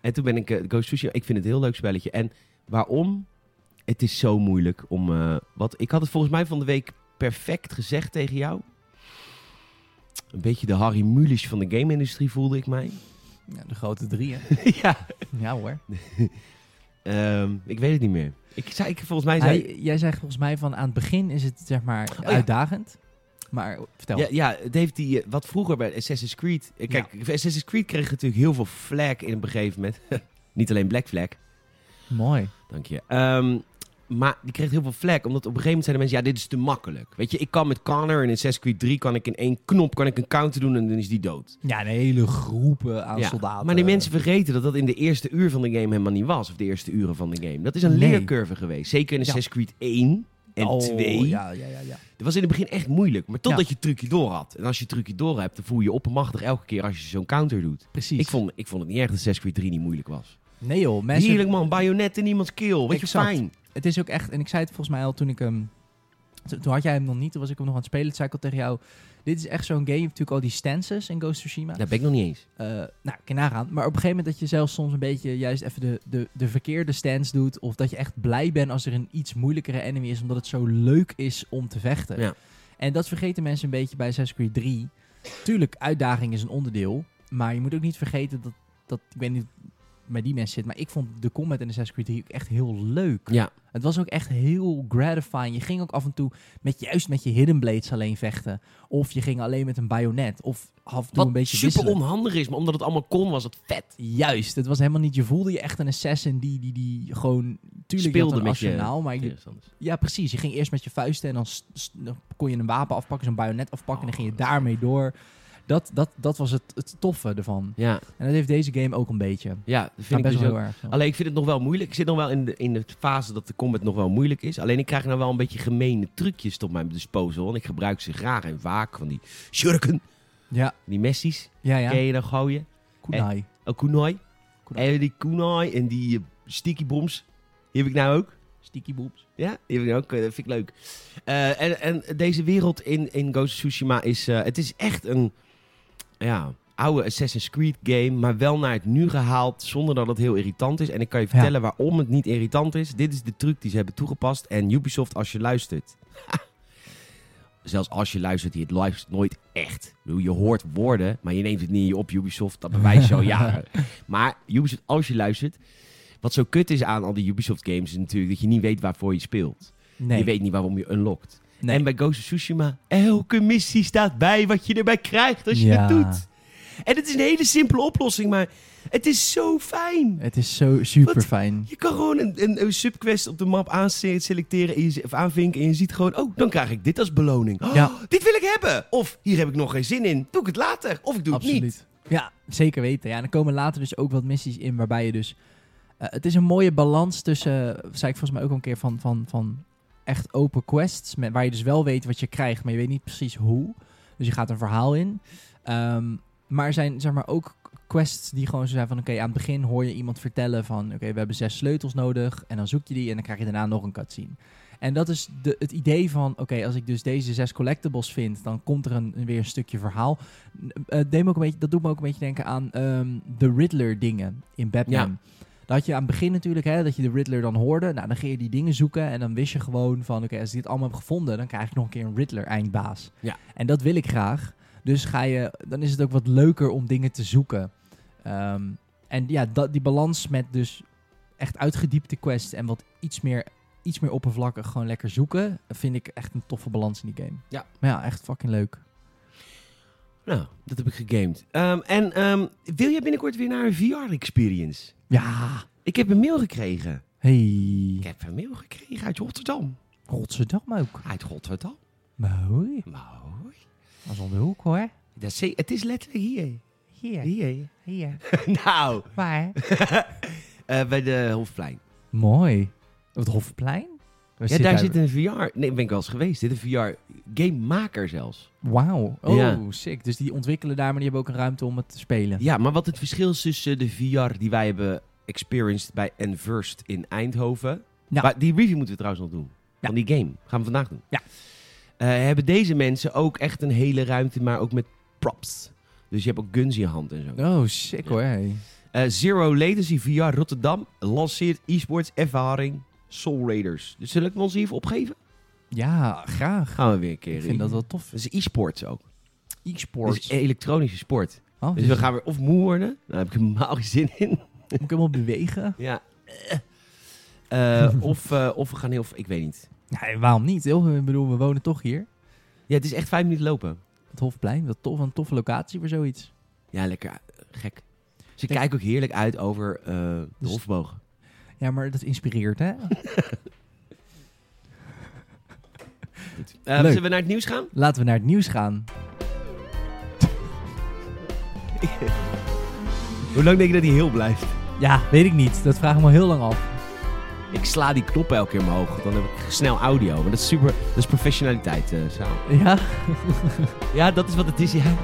Speaker 1: en toen ben ik eh, Go Sushi. Ik vind het een heel leuk spelletje. En waarom? Het is zo moeilijk om. eh, wat, ik had het volgens mij van de week perfect gezegd tegen jou. Een beetje de Harry Mulisch van de game-industrie voelde ik mij.
Speaker 2: Ja, de grote drie, hè?
Speaker 1: ja.
Speaker 2: ja hoor.
Speaker 1: Ehm, ik weet het niet meer. Ik zei, ik, volgens mij zei. Oh,
Speaker 2: Hij- jij zegt volgens mij van aan het begin is het zeg maar
Speaker 1: ja.
Speaker 2: uitdagend. Maar vertel.
Speaker 1: Ja, ja, het heeft die, eh, wat vroeger bij Assassin's Creed... eh, Kijk, Assassin's Creed kreeg natuurlijk heel veel flag in op een gegeven moment. Niet alleen Black Flag,
Speaker 2: Mooi.
Speaker 1: Dank je. Ehm, maar die kreeg heel veel vlek, omdat op een gegeven moment zeiden mensen... ja, dit is te makkelijk. Weet je, ik kan met Connor in Assassin's Creed 3... kan ik in één knop kan ik een counter doen en dan is die dood.
Speaker 2: Ja, een hele groepen aan
Speaker 1: Ja,
Speaker 2: soldaten.
Speaker 1: Maar die mensen vergeten dat dat in de eerste uur van de game helemaal niet was. Of de eerste uren van de game. Dat is een
Speaker 2: Nee.
Speaker 1: leercurve geweest. Zeker in
Speaker 2: Ja.
Speaker 1: Assassin's Creed 1 en
Speaker 2: Oh,
Speaker 1: 2.
Speaker 2: Ja, ja, ja, ja.
Speaker 1: Dat was in het begin echt moeilijk. Maar totdat
Speaker 2: Ja.
Speaker 1: je het trucje door had. En als je het trucje door hebt, dan voel je je oppermachtig elke keer als je zo'n counter doet.
Speaker 2: Precies.
Speaker 1: Ik vond, ik vond het niet erg dat Assassin's Creed 3 niet moeilijk was.
Speaker 2: Nee joh, mensen...
Speaker 1: Heerlijk man, bajonet in iemands keel. Wat je
Speaker 2: Exact.
Speaker 1: fijn.
Speaker 2: Het is ook echt... En ik zei het volgens mij al toen ik hem... Toen toen had jij hem nog niet, toen was ik hem nog aan het spelen. Toen zei ik al tegen jou, dit is echt zo'n game. Je hebt natuurlijk al die stances in Ghost of Tsushima.
Speaker 1: Daar ben ik nog niet eens.
Speaker 2: Eh, nou, ik kan nagaan. Maar op een gegeven moment dat je zelfs soms een beetje juist even de, de, de verkeerde stance doet. Of dat je echt blij bent als er een iets moeilijkere enemy is. Omdat het zo leuk is om te vechten.
Speaker 1: Ja.
Speaker 2: En dat vergeten mensen een beetje bij Assassin's Creed 3. Tuurlijk, uitdaging is een onderdeel. Maar je moet ook niet vergeten dat, dat ik weet niet hoe het bij die mensen zit. Maar ik vond de combat in Assassin's Creed 3 ook echt heel leuk.
Speaker 1: Ja.
Speaker 2: Het was ook echt heel gratifying. Je ging ook af en toe met, juist met je hidden blades alleen vechten. Of je ging alleen met een bajonet. Of af en toe
Speaker 1: Wat
Speaker 2: een beetje
Speaker 1: super
Speaker 2: wisselen.
Speaker 1: onhandig is, maar omdat het allemaal kon, was het vet.
Speaker 2: Juist, het was helemaal niet. Je voelde je echt een assassin die, die, die gewoon. Tuurlijk je had
Speaker 1: Speelde
Speaker 2: een
Speaker 1: met je
Speaker 2: arsenaal, maar je, ja, precies. Je ging eerst met je vuisten en dan, s- s- dan kon je een wapen afpakken, zo'n bajonet afpakken en dan
Speaker 1: Oh,
Speaker 2: ging je daarmee door. Dat, dat, dat was het, het toffe ervan.
Speaker 1: Ja,
Speaker 2: En dat heeft deze game ook een beetje.
Speaker 1: ja dat vind
Speaker 2: Maar
Speaker 1: ik
Speaker 2: Nou, best
Speaker 1: dus
Speaker 2: wel
Speaker 1: ook-
Speaker 2: heel erg. zo.
Speaker 1: Alleen ik vind het nog wel moeilijk. Ik zit nog wel in de, in de fase dat de combat nog wel moeilijk is. Alleen ik krijg nou wel een beetje gemene trucjes tot mijn disposal. En ik gebruik ze graag en vaak van die shuriken,
Speaker 2: Ja,
Speaker 1: die messies.
Speaker 2: ja, ja.
Speaker 1: Kun je dan gooien?
Speaker 2: Kunai.
Speaker 1: Oh, kunai.
Speaker 2: Kunai.
Speaker 1: En die kunai en die eh, sticky bombs. Die heb ik nou ook.
Speaker 2: Sticky boobs.
Speaker 1: Ja, die heb ik nou ook. eh, Dat vind ik leuk. Eh, en, en deze wereld in, in Ghost of Tsushima is... eh, het is echt een ja, oude Assassin's Creed game, maar wel naar het nu gehaald zonder dat het heel irritant is. En ik kan je
Speaker 2: Ja.
Speaker 1: vertellen waarom het niet irritant is. Dit is de truc die ze hebben toegepast. En Ubisoft, als je luistert... Zelfs als je luistert, je luistert nooit echt. Ik bedoel, Je hoort woorden, maar je neemt het niet in je op, Ubisoft. Dat bewijst zo, ja. Maar Ubisoft, als je luistert... Wat zo kut is aan al die Ubisoft games is natuurlijk dat je niet weet waarvoor je speelt.
Speaker 2: Nee.
Speaker 1: Je weet niet waarom je unlockt.
Speaker 2: nee.
Speaker 1: En bij Ghost of Tsushima, elke missie staat bij wat je erbij krijgt als je
Speaker 2: Ja.
Speaker 1: het doet. En het is een hele simpele oplossing, maar het is zo fijn.
Speaker 2: Het is zo super fijn.
Speaker 1: Je kan gewoon een, een, een subquest op de map aanselecteren en je, z- of aanvinken en je ziet gewoon... Oh, dan krijg ik dit als beloning. Oh,
Speaker 2: Ja.
Speaker 1: Dit wil ik hebben! Of hier heb ik nog geen zin in. Doe ik het later. Of ik doe het niet.
Speaker 2: Ja, zeker weten. Ja, en er komen later dus ook wat missies in waarbij je dus... eh, het is een mooie balans tussen, eh, zei ik volgens mij ook al een keer, van, van, van echt open quests. Met, waar je dus wel weet wat je krijgt, maar je weet niet precies hoe. Dus je gaat een verhaal in. Ehm, maar er zijn zeg maar ook quests die gewoon zo zijn van... Oké, aan het begin hoor je iemand vertellen van... Oké, we hebben zes sleutels nodig. En dan zoek je die en dan krijg je daarna nog een cutscene. En dat is de, het idee van... Oké, als ik dus deze zes collectibles vind... dan komt er een, weer een stukje verhaal. Eh, deed me ook een beetje, dat doet me ook een beetje denken aan ehm, de Riddler dingen in Batman. Dat had je aan het begin natuurlijk, hè, dat je de Riddler dan hoorde. Nou, dan ging je die dingen zoeken en dan wist je gewoon van... oké, als ik dit allemaal heb gevonden, dan krijg ik nog een keer een Riddler-eindbaas.
Speaker 1: Ja.
Speaker 2: En dat wil ik graag. Dus ga je, dan is het ook wat leuker om dingen te zoeken. Ehm, en ja, dat, die balans met dus echt uitgediepte quests... en wat iets meer, iets meer oppervlakkig gewoon lekker zoeken... vind ik echt een toffe balans in die game.
Speaker 1: Ja.
Speaker 2: Maar ja, echt fucking leuk.
Speaker 1: Nou, dat heb ik gegamed. Ehm, en ehm, wil jij binnenkort weer naar een VR-experience?
Speaker 2: Ja,
Speaker 1: Ik heb een mail gekregen. Ik
Speaker 2: hey.
Speaker 1: heb een mail gekregen uit Rotterdam.
Speaker 2: Rotterdam ook.
Speaker 1: Uit Rotterdam?
Speaker 2: Mooi.
Speaker 1: Mooi.
Speaker 2: Dat is om de hoek hoor.
Speaker 1: Dat is, het is letterlijk hier.
Speaker 2: Hier,
Speaker 1: Hier.
Speaker 2: hier.
Speaker 1: nou,
Speaker 2: Waar?
Speaker 1: eh, bij de Hofplein.
Speaker 2: Mooi. Op het Hofplein? We
Speaker 1: Ja,
Speaker 2: zitten
Speaker 1: daar zit een VR... Nee, ben ik wel eens geweest. Dit is een VR-gamemaker zelfs.
Speaker 2: Wauw. Oh,
Speaker 1: Ja.
Speaker 2: sick. Dus die ontwikkelen daar, maar die hebben ook een ruimte om het te spelen.
Speaker 1: Ja, maar wat het verschil is tussen de VR die wij hebben experienced bij Enversed in Eindhoven...
Speaker 2: Ja.
Speaker 1: Maar die review moeten we trouwens nog doen.
Speaker 2: Ja.
Speaker 1: Van die game. Gaan we vandaag doen.
Speaker 2: Ja.
Speaker 1: eh, hebben deze mensen ook echt een hele ruimte, maar ook met props. Dus je hebt ook guns in je hand en zo.
Speaker 2: Oh, sick hoor. hey.
Speaker 1: Eh, Zero Latency VR Rotterdam lanceert e-sports ervaring Soul Raiders. Dus zullen we ons hiervoor opgeven?
Speaker 2: Ja, graag.
Speaker 1: Gaan we weer een keer.
Speaker 2: Ik vind dat wel tof.
Speaker 1: Dat is e-sports ook. Dat
Speaker 2: E-sports.
Speaker 1: is elektronische sport.
Speaker 2: Oh,
Speaker 1: Dus
Speaker 2: dus
Speaker 1: we gaan weer of moe worden. Daar heb ik helemaal geen zin in.
Speaker 2: Moet ik helemaal bewegen?
Speaker 1: Ja. Eh, of, eh, of we gaan heel... Ik weet niet.
Speaker 2: Nee, waarom niet? Heel, ik bedoel, we wonen toch hier.
Speaker 1: Ja, het is echt vijf minuten lopen.
Speaker 2: Het Hofplein, wat tof, een toffe locatie voor zoiets.
Speaker 1: Ja, lekker eh, gek. Ze kijken Dus ook heerlijk uit over eh, de
Speaker 2: Dus-
Speaker 1: Hofbogen.
Speaker 2: Ja, maar dat inspireert, hè?
Speaker 1: Eh,
Speaker 2: Leuk.
Speaker 1: zullen we naar het nieuws gaan?
Speaker 2: Laten we naar het nieuws gaan.
Speaker 1: Hoe lang denk je dat hij heel blijft?
Speaker 2: Ja, weet ik niet. Dat vraag ik me al heel lang af.
Speaker 1: Ik sla die knoppen elke keer omhoog. Dan heb ik snel audio. Maar dat is super... Dat is professionaliteit, eh Saal.
Speaker 2: Ja?
Speaker 1: Ja, dat is wat het is, ja.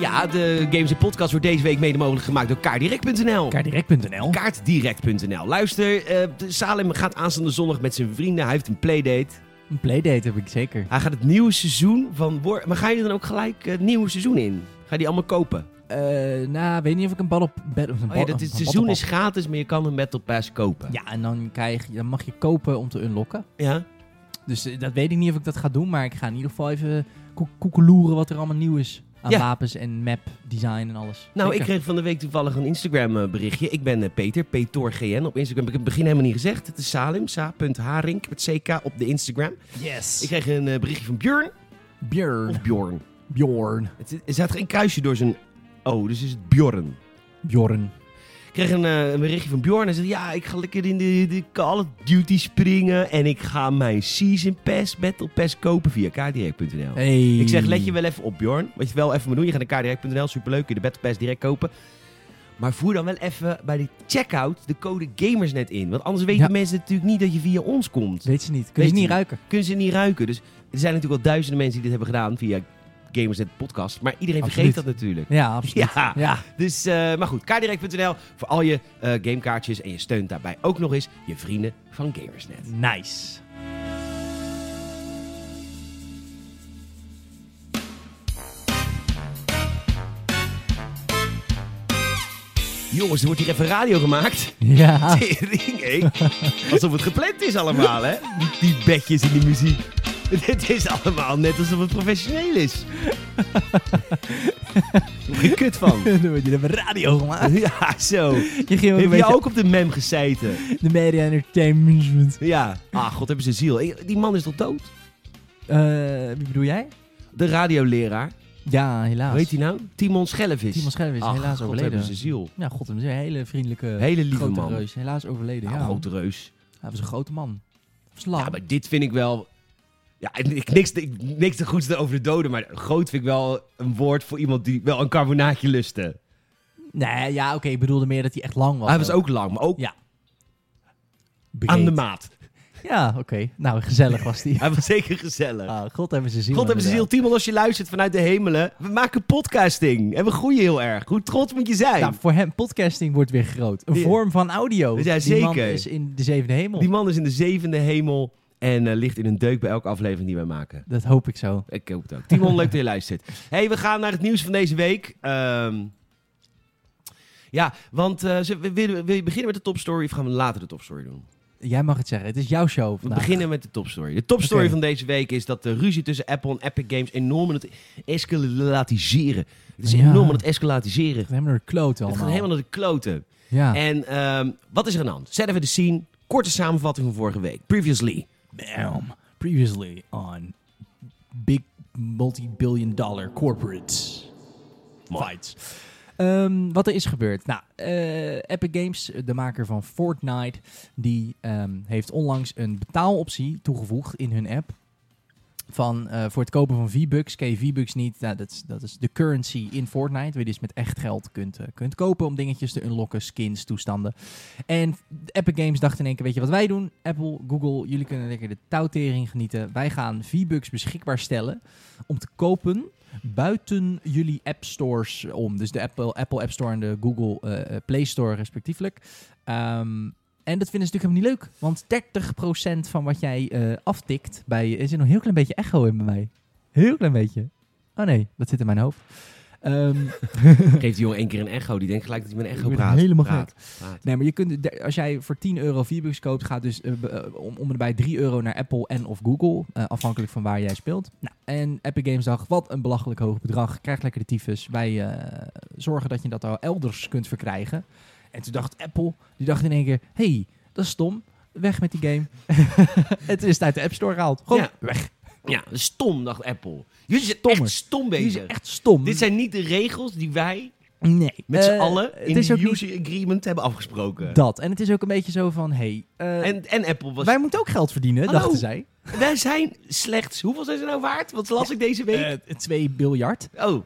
Speaker 1: Ja, de Games en Podcast wordt deze week mede mogelijk gemaakt door kaardirect.nl.
Speaker 2: Kaardirect.nl.
Speaker 1: Kaartdirect.nl. Luister, eh, de Salem gaat aanstaande zondag met zijn vrienden. Hij heeft een playdate.
Speaker 2: Een playdate heb ik zeker.
Speaker 1: Hij gaat het nieuwe seizoen van... War- Maar ga je dan ook gelijk eh, het nieuwe seizoen in? Ga je die allemaal kopen?
Speaker 2: Eh nou, weet niet of ik een bal op... Bed, of een
Speaker 1: Oh
Speaker 2: bal-
Speaker 1: ja, dat,
Speaker 2: een
Speaker 1: het seizoen
Speaker 2: bal-
Speaker 1: is gratis, maar je kan een Battle Pass kopen.
Speaker 2: Ja, en dan, krijg, je- dan mag je kopen om te unlocken.
Speaker 1: Ja?
Speaker 2: Dus eh, dat weet ik niet of ik dat ga doen, maar ik ga in ieder geval even koek- koekeloeren wat er allemaal nieuw is. Aan
Speaker 1: Ja.
Speaker 2: wapens en map design en alles.
Speaker 1: Nou, ik
Speaker 2: Zeker.
Speaker 1: kreeg van de week toevallig een Instagram eh, berichtje. Ik ben eh, Peter, PetorGN op Instagram. Heb Ik heb het begin helemaal niet gezegd. Het is Salim, sa.haring met ck op de Instagram.
Speaker 2: Yes!
Speaker 1: Ik Oh. kreeg een eh, berichtje van Björn.
Speaker 2: Bjorn.
Speaker 1: Of Bjorn.
Speaker 2: Bjorn.
Speaker 1: Het, is- er zat geen kruisje door zijn... Oh, dus is het Bjorn.
Speaker 2: Bjorn.
Speaker 1: Ik kreeg een, eh, een berichtje van Bjorn. Hij zei, ja, ik ga lekker in de, de Call of Duty springen. En ik ga mijn Season Pass, Battle Pass kopen via E kdirect.nl.
Speaker 2: Hey.
Speaker 1: Ik zeg, let je wel even op, Bjorn. Wat je wel even moet doen, je gaat naar kdirect.nl, superleuk, kun je de Battle Pass direct kopen. Maar voer dan wel even bij de checkout de code GAMERSNET in. Want anders weten
Speaker 2: Ja.
Speaker 1: mensen natuurlijk niet dat je via ons komt.
Speaker 2: Weet ze niet. Kun je
Speaker 1: Weet
Speaker 2: ze niet
Speaker 1: je
Speaker 2: ruiken.
Speaker 1: Kunnen ze niet ruiken. Dus er zijn natuurlijk wel duizenden mensen die dit hebben gedaan via GAMERSNET podcast. Maar iedereen vergeet
Speaker 2: Absoluut.
Speaker 1: dat natuurlijk.
Speaker 2: Ja, absoluut.
Speaker 1: Ja.
Speaker 2: ja.
Speaker 1: Dus, eh, maar goed, kdirect.nl voor al je eh, gamekaartjes. En je steunt daarbij ook nog eens je vrienden van GamersNet.
Speaker 2: Nice.
Speaker 1: Jongens, er wordt hier even radio gemaakt.
Speaker 2: Ja.
Speaker 1: Tering, hé. Alsof het gepland is allemaal, hè? Die, die bedjes en die muziek. Dit is allemaal net alsof het professioneel is. Heb je kut van.
Speaker 2: Jullie hebben radio gemaakt.
Speaker 1: Ja, zo.
Speaker 2: Je ging ook een
Speaker 1: Heb je
Speaker 2: beetje
Speaker 1: ook op de mem gezeten?
Speaker 2: de media entertainment.
Speaker 1: Ja. Ah, god, hebben ze ziel. Ik- Die man is toch dood?
Speaker 2: Eh, wie bedoel jij?
Speaker 1: De radioleraar.
Speaker 2: Ja, helaas.
Speaker 1: Hoe heet hij nou? Timon Schellevis.
Speaker 2: Timon Scherp is
Speaker 1: Ach,
Speaker 2: helaas
Speaker 1: god,
Speaker 2: overleden.
Speaker 1: hebben ze ziel.
Speaker 2: Ja, god, hem is een hele vriendelijke,
Speaker 1: Hele lieve
Speaker 2: grote
Speaker 1: man.
Speaker 2: reus. Helaas overleden,
Speaker 1: Nou,
Speaker 2: ja.
Speaker 1: grote reus.
Speaker 2: Hij was een grote man. Slam.
Speaker 1: Ja, maar dit vind ik wel... Ja, ik, niks, te- ik, niks te goeds over de doden, maar groot vind ik wel een woord voor iemand die wel een carbonaatje lustte.
Speaker 2: Nee, ja, oké, ik bedoelde meer dat hij echt lang was.
Speaker 1: Hij was ook lang, maar ook
Speaker 2: Ja,
Speaker 1: aan
Speaker 2: Breed.
Speaker 1: de maat.
Speaker 2: Ja, oké. Nou, gezellig was die.
Speaker 1: Hij was zeker gezellig.
Speaker 2: Ah, God hebben ze ziel.
Speaker 1: God hebben ze ziel,
Speaker 2: inderdaad.
Speaker 1: Timon, als je luistert vanuit de hemelen. We maken podcasting en we groeien heel erg. Hoe trots moet je zijn?
Speaker 2: Nou, voor hem, podcasting wordt weer groot. Een
Speaker 1: Ja.
Speaker 2: vorm van audio.
Speaker 1: Ja,
Speaker 2: Die man
Speaker 1: zeker.
Speaker 2: is in de zevende hemel.
Speaker 1: Die man is in de zevende hemel en eh, ligt in een deuk bij elke aflevering die wij maken.
Speaker 2: Dat hoop ik zo.
Speaker 1: Ik hoop het ook. Timon, leuk dat je luistert. hey, we gaan naar het nieuws van deze week. Ehm, ja, want eh, zullen we- wil, je- wil je beginnen met de topstory of gaan we later de topstory doen?
Speaker 2: Jij mag het zeggen. Het is jouw show
Speaker 1: We
Speaker 2: vandaag.
Speaker 1: beginnen met de topstory. De topstory
Speaker 2: Oké.
Speaker 1: van deze week is dat de ruzie tussen Apple en Epic Games enorm aan het escalatiseren. Het is
Speaker 2: Ja.
Speaker 1: enorm aan het escalatiseren.
Speaker 2: Het gaat helemaal naar de kloot
Speaker 1: Het
Speaker 2: allemaal.
Speaker 1: gaat helemaal naar de kloten.
Speaker 2: Ja.
Speaker 1: En ehm, wat is er aan de hand? Zet even de scene. Korte samenvatting van vorige week. Previously.
Speaker 2: Bam. Previously on big multi-billion dollar corporate
Speaker 1: Mooi.
Speaker 2: fights. Ehm, wat er is gebeurd. Nou, eh, Epic Games, de maker van Fortnite, die ehm, heeft onlangs een betaaloptie toegevoegd in hun app. Van, eh, voor het kopen van V-Bucks. Ken je V-Bucks niet? Nou, dat, is, dat is de currency in Fortnite. Waar je dus met echt geld kunt, eh, kunt kopen om dingetjes te unlocken, skins, toestanden. En Epic Games dacht in één keer, weet je wat wij doen? Apple, Google, jullie kunnen lekker de touwtering genieten. Wij gaan V-Bucks beschikbaar stellen om te kopen buiten jullie app stores om. Dus de Apple, Apple App Store en de Google eh, eh, Play Store respectievelijk. Ehm, en dat vinden ze natuurlijk helemaal niet leuk. Want 30% van wat jij eh, aftikt bij... Er zit nog een heel klein beetje echo in bij mij. Heel klein beetje. Oh nee, dat zit in mijn hoofd. Ehm,
Speaker 1: Geeft die jongen één keer een echo. Die denkt gelijk dat hij met een echo
Speaker 2: Ik word
Speaker 1: praat.
Speaker 2: helemaal
Speaker 1: praat, praat.
Speaker 2: Nee, maar je kunt, de- als jij voor 10 euro V-Bucks koopt, gaat dus eh, be- eh, om, om en bij 3 euro naar Apple en of Google, eh, afhankelijk van waar jij speelt. Nou, en Epic Games dacht, wat een belachelijk hoog bedrag, krijg lekker de tyfus. Wij eh, zorgen dat je dat al elders kunt verkrijgen. En toen dacht Apple, die dacht in één keer, hey, dat is stom, weg met die game. Het is uit de App Store gehaald, gewoon
Speaker 1: Ja.
Speaker 2: weg.
Speaker 1: Ja, stom, dacht Apple. Jullie zijn
Speaker 2: Stommer.
Speaker 1: echt stom
Speaker 2: Die is
Speaker 1: bezig.
Speaker 2: echt stom.
Speaker 1: Dit zijn niet de regels die wij
Speaker 2: nee.
Speaker 1: met z'n
Speaker 2: Eh,
Speaker 1: allen in
Speaker 2: het is
Speaker 1: de
Speaker 2: ook niet
Speaker 1: user agreement hebben afgesproken.
Speaker 2: dat. En het is ook een beetje zo van, hey, eh,
Speaker 1: En, en Apple was...
Speaker 2: wij
Speaker 1: Wij,
Speaker 2: moeten ook geld verdienen,
Speaker 1: Hallo.
Speaker 2: dachten zij.
Speaker 1: zijn slechts... Hoeveel zijn ze nou waard? Wat las ik deze week?
Speaker 2: Eh 2 biljard.
Speaker 1: oh,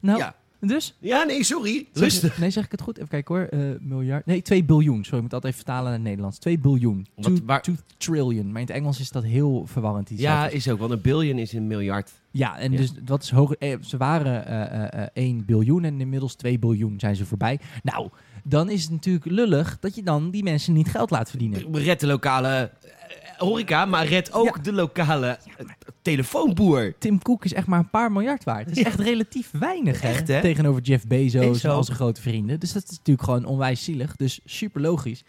Speaker 2: Nou,
Speaker 1: ja.
Speaker 2: dus?
Speaker 1: Ja, nee, sorry.
Speaker 2: Zeg-
Speaker 1: Rustig.
Speaker 2: Nee, zeg ik het goed? Even kijken hoor. Eh, miljard. Nee, 2 biljoen. Sorry, ik moet dat even vertalen naar het Nederlands. 2 biljoen.
Speaker 1: Wat-
Speaker 2: 2
Speaker 1: waar-
Speaker 2: trillion. Maar in het Engels is dat heel verwarrend. die
Speaker 1: Ja,
Speaker 2: cijfers.
Speaker 1: is ook, want een billion is een miljard.
Speaker 2: ja en
Speaker 1: Ja.
Speaker 2: dus wat is hoger? eh, ze waren eh, eh, eh, 1 biljoen en inmiddels 2 biljoen zijn ze voorbij. Nou, dan is het natuurlijk lullig dat je dan die mensen niet geld laat verdienen.
Speaker 1: Red de lokale eh, horeca, maar red ook de lokale eh, telefoonboer.
Speaker 2: Tim Cook is echt maar een paar miljard waard. Dat is
Speaker 1: Ja.
Speaker 2: echt relatief weinig hè?
Speaker 1: Echt, hè?
Speaker 2: tegenover Jeff Bezos en
Speaker 1: Bezos.
Speaker 2: al zijn grote vrienden. Dus dat is natuurlijk gewoon onwijs zielig. Dus super logisch.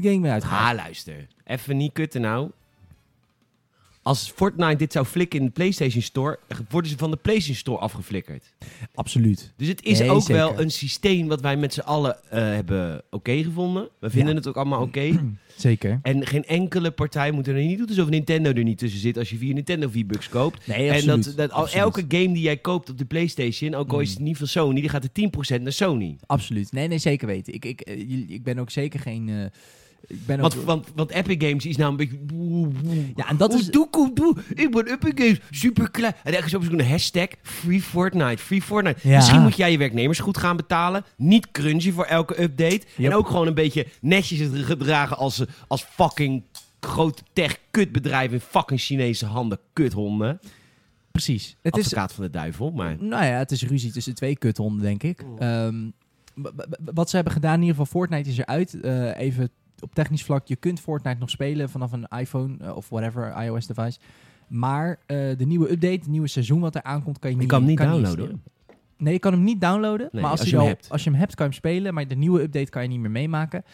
Speaker 2: Game ben uit.
Speaker 1: Ha, luister. Even niet kutten nou. Als Fortnite dit zou flikken in de PlayStation Store, worden ze van de PlayStation Store afgeflikkerd.
Speaker 2: Absoluut.
Speaker 1: Dus het is
Speaker 2: Nee,
Speaker 1: ook
Speaker 2: zeker.
Speaker 1: wel een systeem wat wij met z'n allen eh, hebben oké gevonden. We vinden
Speaker 2: Ja.
Speaker 1: het ook allemaal oké.
Speaker 2: Zeker.
Speaker 1: En geen enkele partij moet er niet doen. Alsof Nintendo er niet tussen zit als je via Nintendo V-Bucks koopt.
Speaker 2: Nee,
Speaker 1: En
Speaker 2: absoluut.
Speaker 1: dat, dat al,
Speaker 2: Absoluut. Mm.
Speaker 1: elke game die jij koopt op de PlayStation, ook al is het niet van Sony, die gaat er 10% naar Sony.
Speaker 2: Absoluut. Nee, nee, zeker weten. Ik, ik, eh, jullie- ik ben ook zeker geen... eh, ik ben ook...
Speaker 1: Want, want, want Epic Games is nou een beetje.
Speaker 2: Ja, en dat
Speaker 1: Hoe
Speaker 2: is...
Speaker 1: doe, hoe doe. Ik ben Epic Games, super klein. En ergens op zo'n hashtag Free Fortnite, Free Fortnite.
Speaker 2: Ja.
Speaker 1: Misschien moet jij je werknemers goed gaan betalen. Niet crunchy voor elke update.
Speaker 2: Yep.
Speaker 1: En ook gewoon een beetje netjes het gedragen als, eh, als fucking grote tech kutbedrijf in fucking Chinese handen. Kuthonden.
Speaker 2: Precies. Het is,
Speaker 1: Advocaat van de duivel, maar...
Speaker 2: nou ja, het is ruzie tussen twee kuthonden, denk ik.
Speaker 1: Oh.
Speaker 2: Ehm, w- w- w- wat ze hebben gedaan, in ieder geval Fortnite is eruit. Eh, even op technisch vlak, je kunt Fortnite nog spelen vanaf een iPhone eh, of whatever, iOS device. Maar eh, de nieuwe update, het nieuwe seizoen wat er aankomt, kan je,
Speaker 1: Je
Speaker 2: niet,
Speaker 1: kan hem niet
Speaker 2: kan
Speaker 1: downloaden.
Speaker 2: installeren. Nee, je kan hem niet downloaden.
Speaker 1: Nee,
Speaker 2: maar als,
Speaker 1: als
Speaker 2: je
Speaker 1: je hem
Speaker 2: al-
Speaker 1: hebt.
Speaker 2: als je hem hebt, kan je hem spelen. Maar de nieuwe update kan je niet meer meemaken.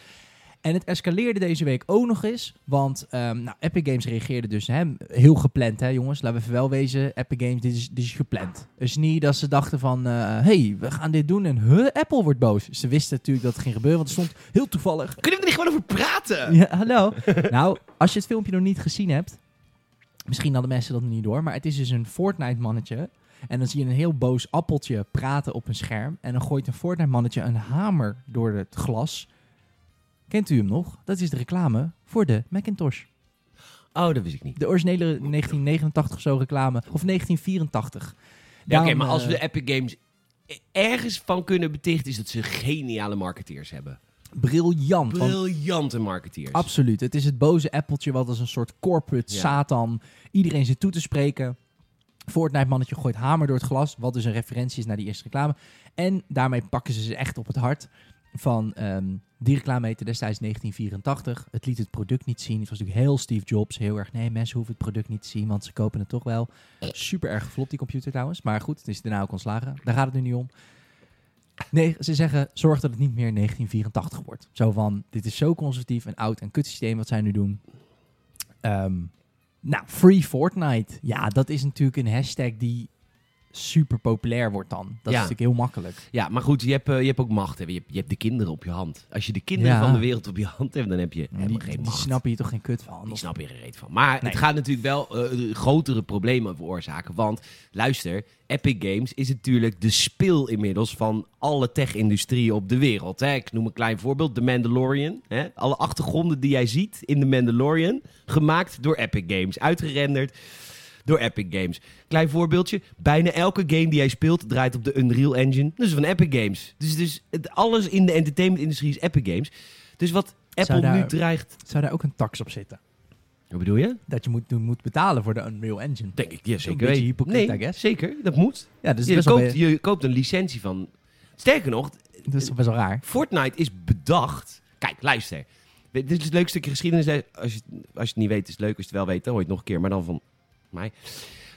Speaker 2: En het escaleerde deze week ook nog eens. Want ehm, nou, Epic Games reageerde dus hè, heel gepland, hè, jongens. Laten we even wel wezen. Epic Games, dit is, dit is gepland. Dus niet dat ze dachten van, eh, hey, we gaan dit doen en huh, Apple wordt boos. Ze wisten natuurlijk dat het ging gebeuren, want het stond heel toevallig.
Speaker 1: Kunnen we er niet gewoon over praten?
Speaker 2: Ja, hallo. nou, als je het filmpje nog niet gezien hebt, misschien hadden mensen dat nog niet door, maar het is dus een Fortnite-mannetje. En dan zie je een heel boos appeltje praten op een scherm. En dan gooit een Fortnite-mannetje een hamer door het glas. Kent u hem nog? Dat is de reclame voor de Macintosh.
Speaker 1: Oh, dat wist ik niet.
Speaker 2: De originele 1989 of zo reclame. Of 1984.
Speaker 1: Ja, Oké,
Speaker 2: Daarom,
Speaker 1: maar als we
Speaker 2: eh,
Speaker 1: de Epic Games ergens van kunnen betichten, is dat ze geniale marketeers hebben.
Speaker 2: Briljant. want
Speaker 1: Briljante marketeers.
Speaker 2: Absoluut. Het is het boze appeltje wat als een soort corporate
Speaker 1: Ja.
Speaker 2: Satan iedereen zit toe te spreken. Fortnite mannetje gooit hamer door het glas, wat dus een referentie is naar die eerste reclame. En daarmee pakken ze ze echt op het hart van ehm, die reclame heette destijds 1984. Het liet het product niet zien. Het was natuurlijk heel Steve Jobs, heel erg. Nee, mensen hoeven het product niet te zien, want ze kopen het toch wel. Super erg geflopt die computer trouwens, maar goed, het is daarna ook ontslagen. Daar gaat het nu niet om. Nee, ze zeggen, zorg dat het niet meer 1984 wordt. Zo van, dit is zo conservatief en oud en kut systeem wat zij nu doen. Ehm, nou, Free Fortnite. Ja, dat is natuurlijk een hashtag die super populair wordt dan. Dat is natuurlijk heel makkelijk.
Speaker 1: Ja, maar goed, je hebt, eh, je hebt ook macht. Hè. Je, hebt, je hebt de kinderen op je hand. Als je de kinderen
Speaker 2: Ja.
Speaker 1: van de wereld op je hand hebt, dan heb je
Speaker 2: Die,
Speaker 1: helemaal geen
Speaker 2: die
Speaker 1: macht.
Speaker 2: snappen hier toch geen kut van?
Speaker 1: Die
Speaker 2: Of-
Speaker 1: snappen je er reet van. Maar
Speaker 2: Nee.
Speaker 1: het gaat natuurlijk wel eh, grotere problemen veroorzaken. Want luister, Epic Games is natuurlijk de spil inmiddels van alle tech-industrie op de wereld. Hè. Ik noem een klein voorbeeld: The Mandalorian. Hè. Alle achtergronden die jij ziet in The Mandalorian, gemaakt door Epic Games, uitgerenderd. door Epic Games. Klein voorbeeldje. Bijna elke game die jij speelt draait op de Unreal Engine. Dus van Epic Games. Dus, dus het, alles in de entertainmentindustrie is Epic Games. Dus wat Apple
Speaker 2: daar-
Speaker 1: nu dreigt...
Speaker 2: Zou daar ook een tax op zitten?
Speaker 1: Wat bedoel je?
Speaker 2: Dat je moet, moet betalen voor de Unreal Engine.
Speaker 1: Denk ik, ja, zeker
Speaker 2: beetje
Speaker 1: weten.
Speaker 2: hypocriet,
Speaker 1: nee,
Speaker 2: I guess.
Speaker 1: zeker. Dat moet.
Speaker 2: Ja, dus
Speaker 1: je,
Speaker 2: dat is best wel
Speaker 1: koopt, je koopt een licentie van... Sterker nog,
Speaker 2: be- dat is best wel raar.
Speaker 1: Fortnite is bedacht. Kijk, luister. Dit is het leuk stukje geschiedenis. Als je, als je het niet weet, is het leuk. Als je het wel weet, dan hoor je het nog een keer. Maar dan van mij.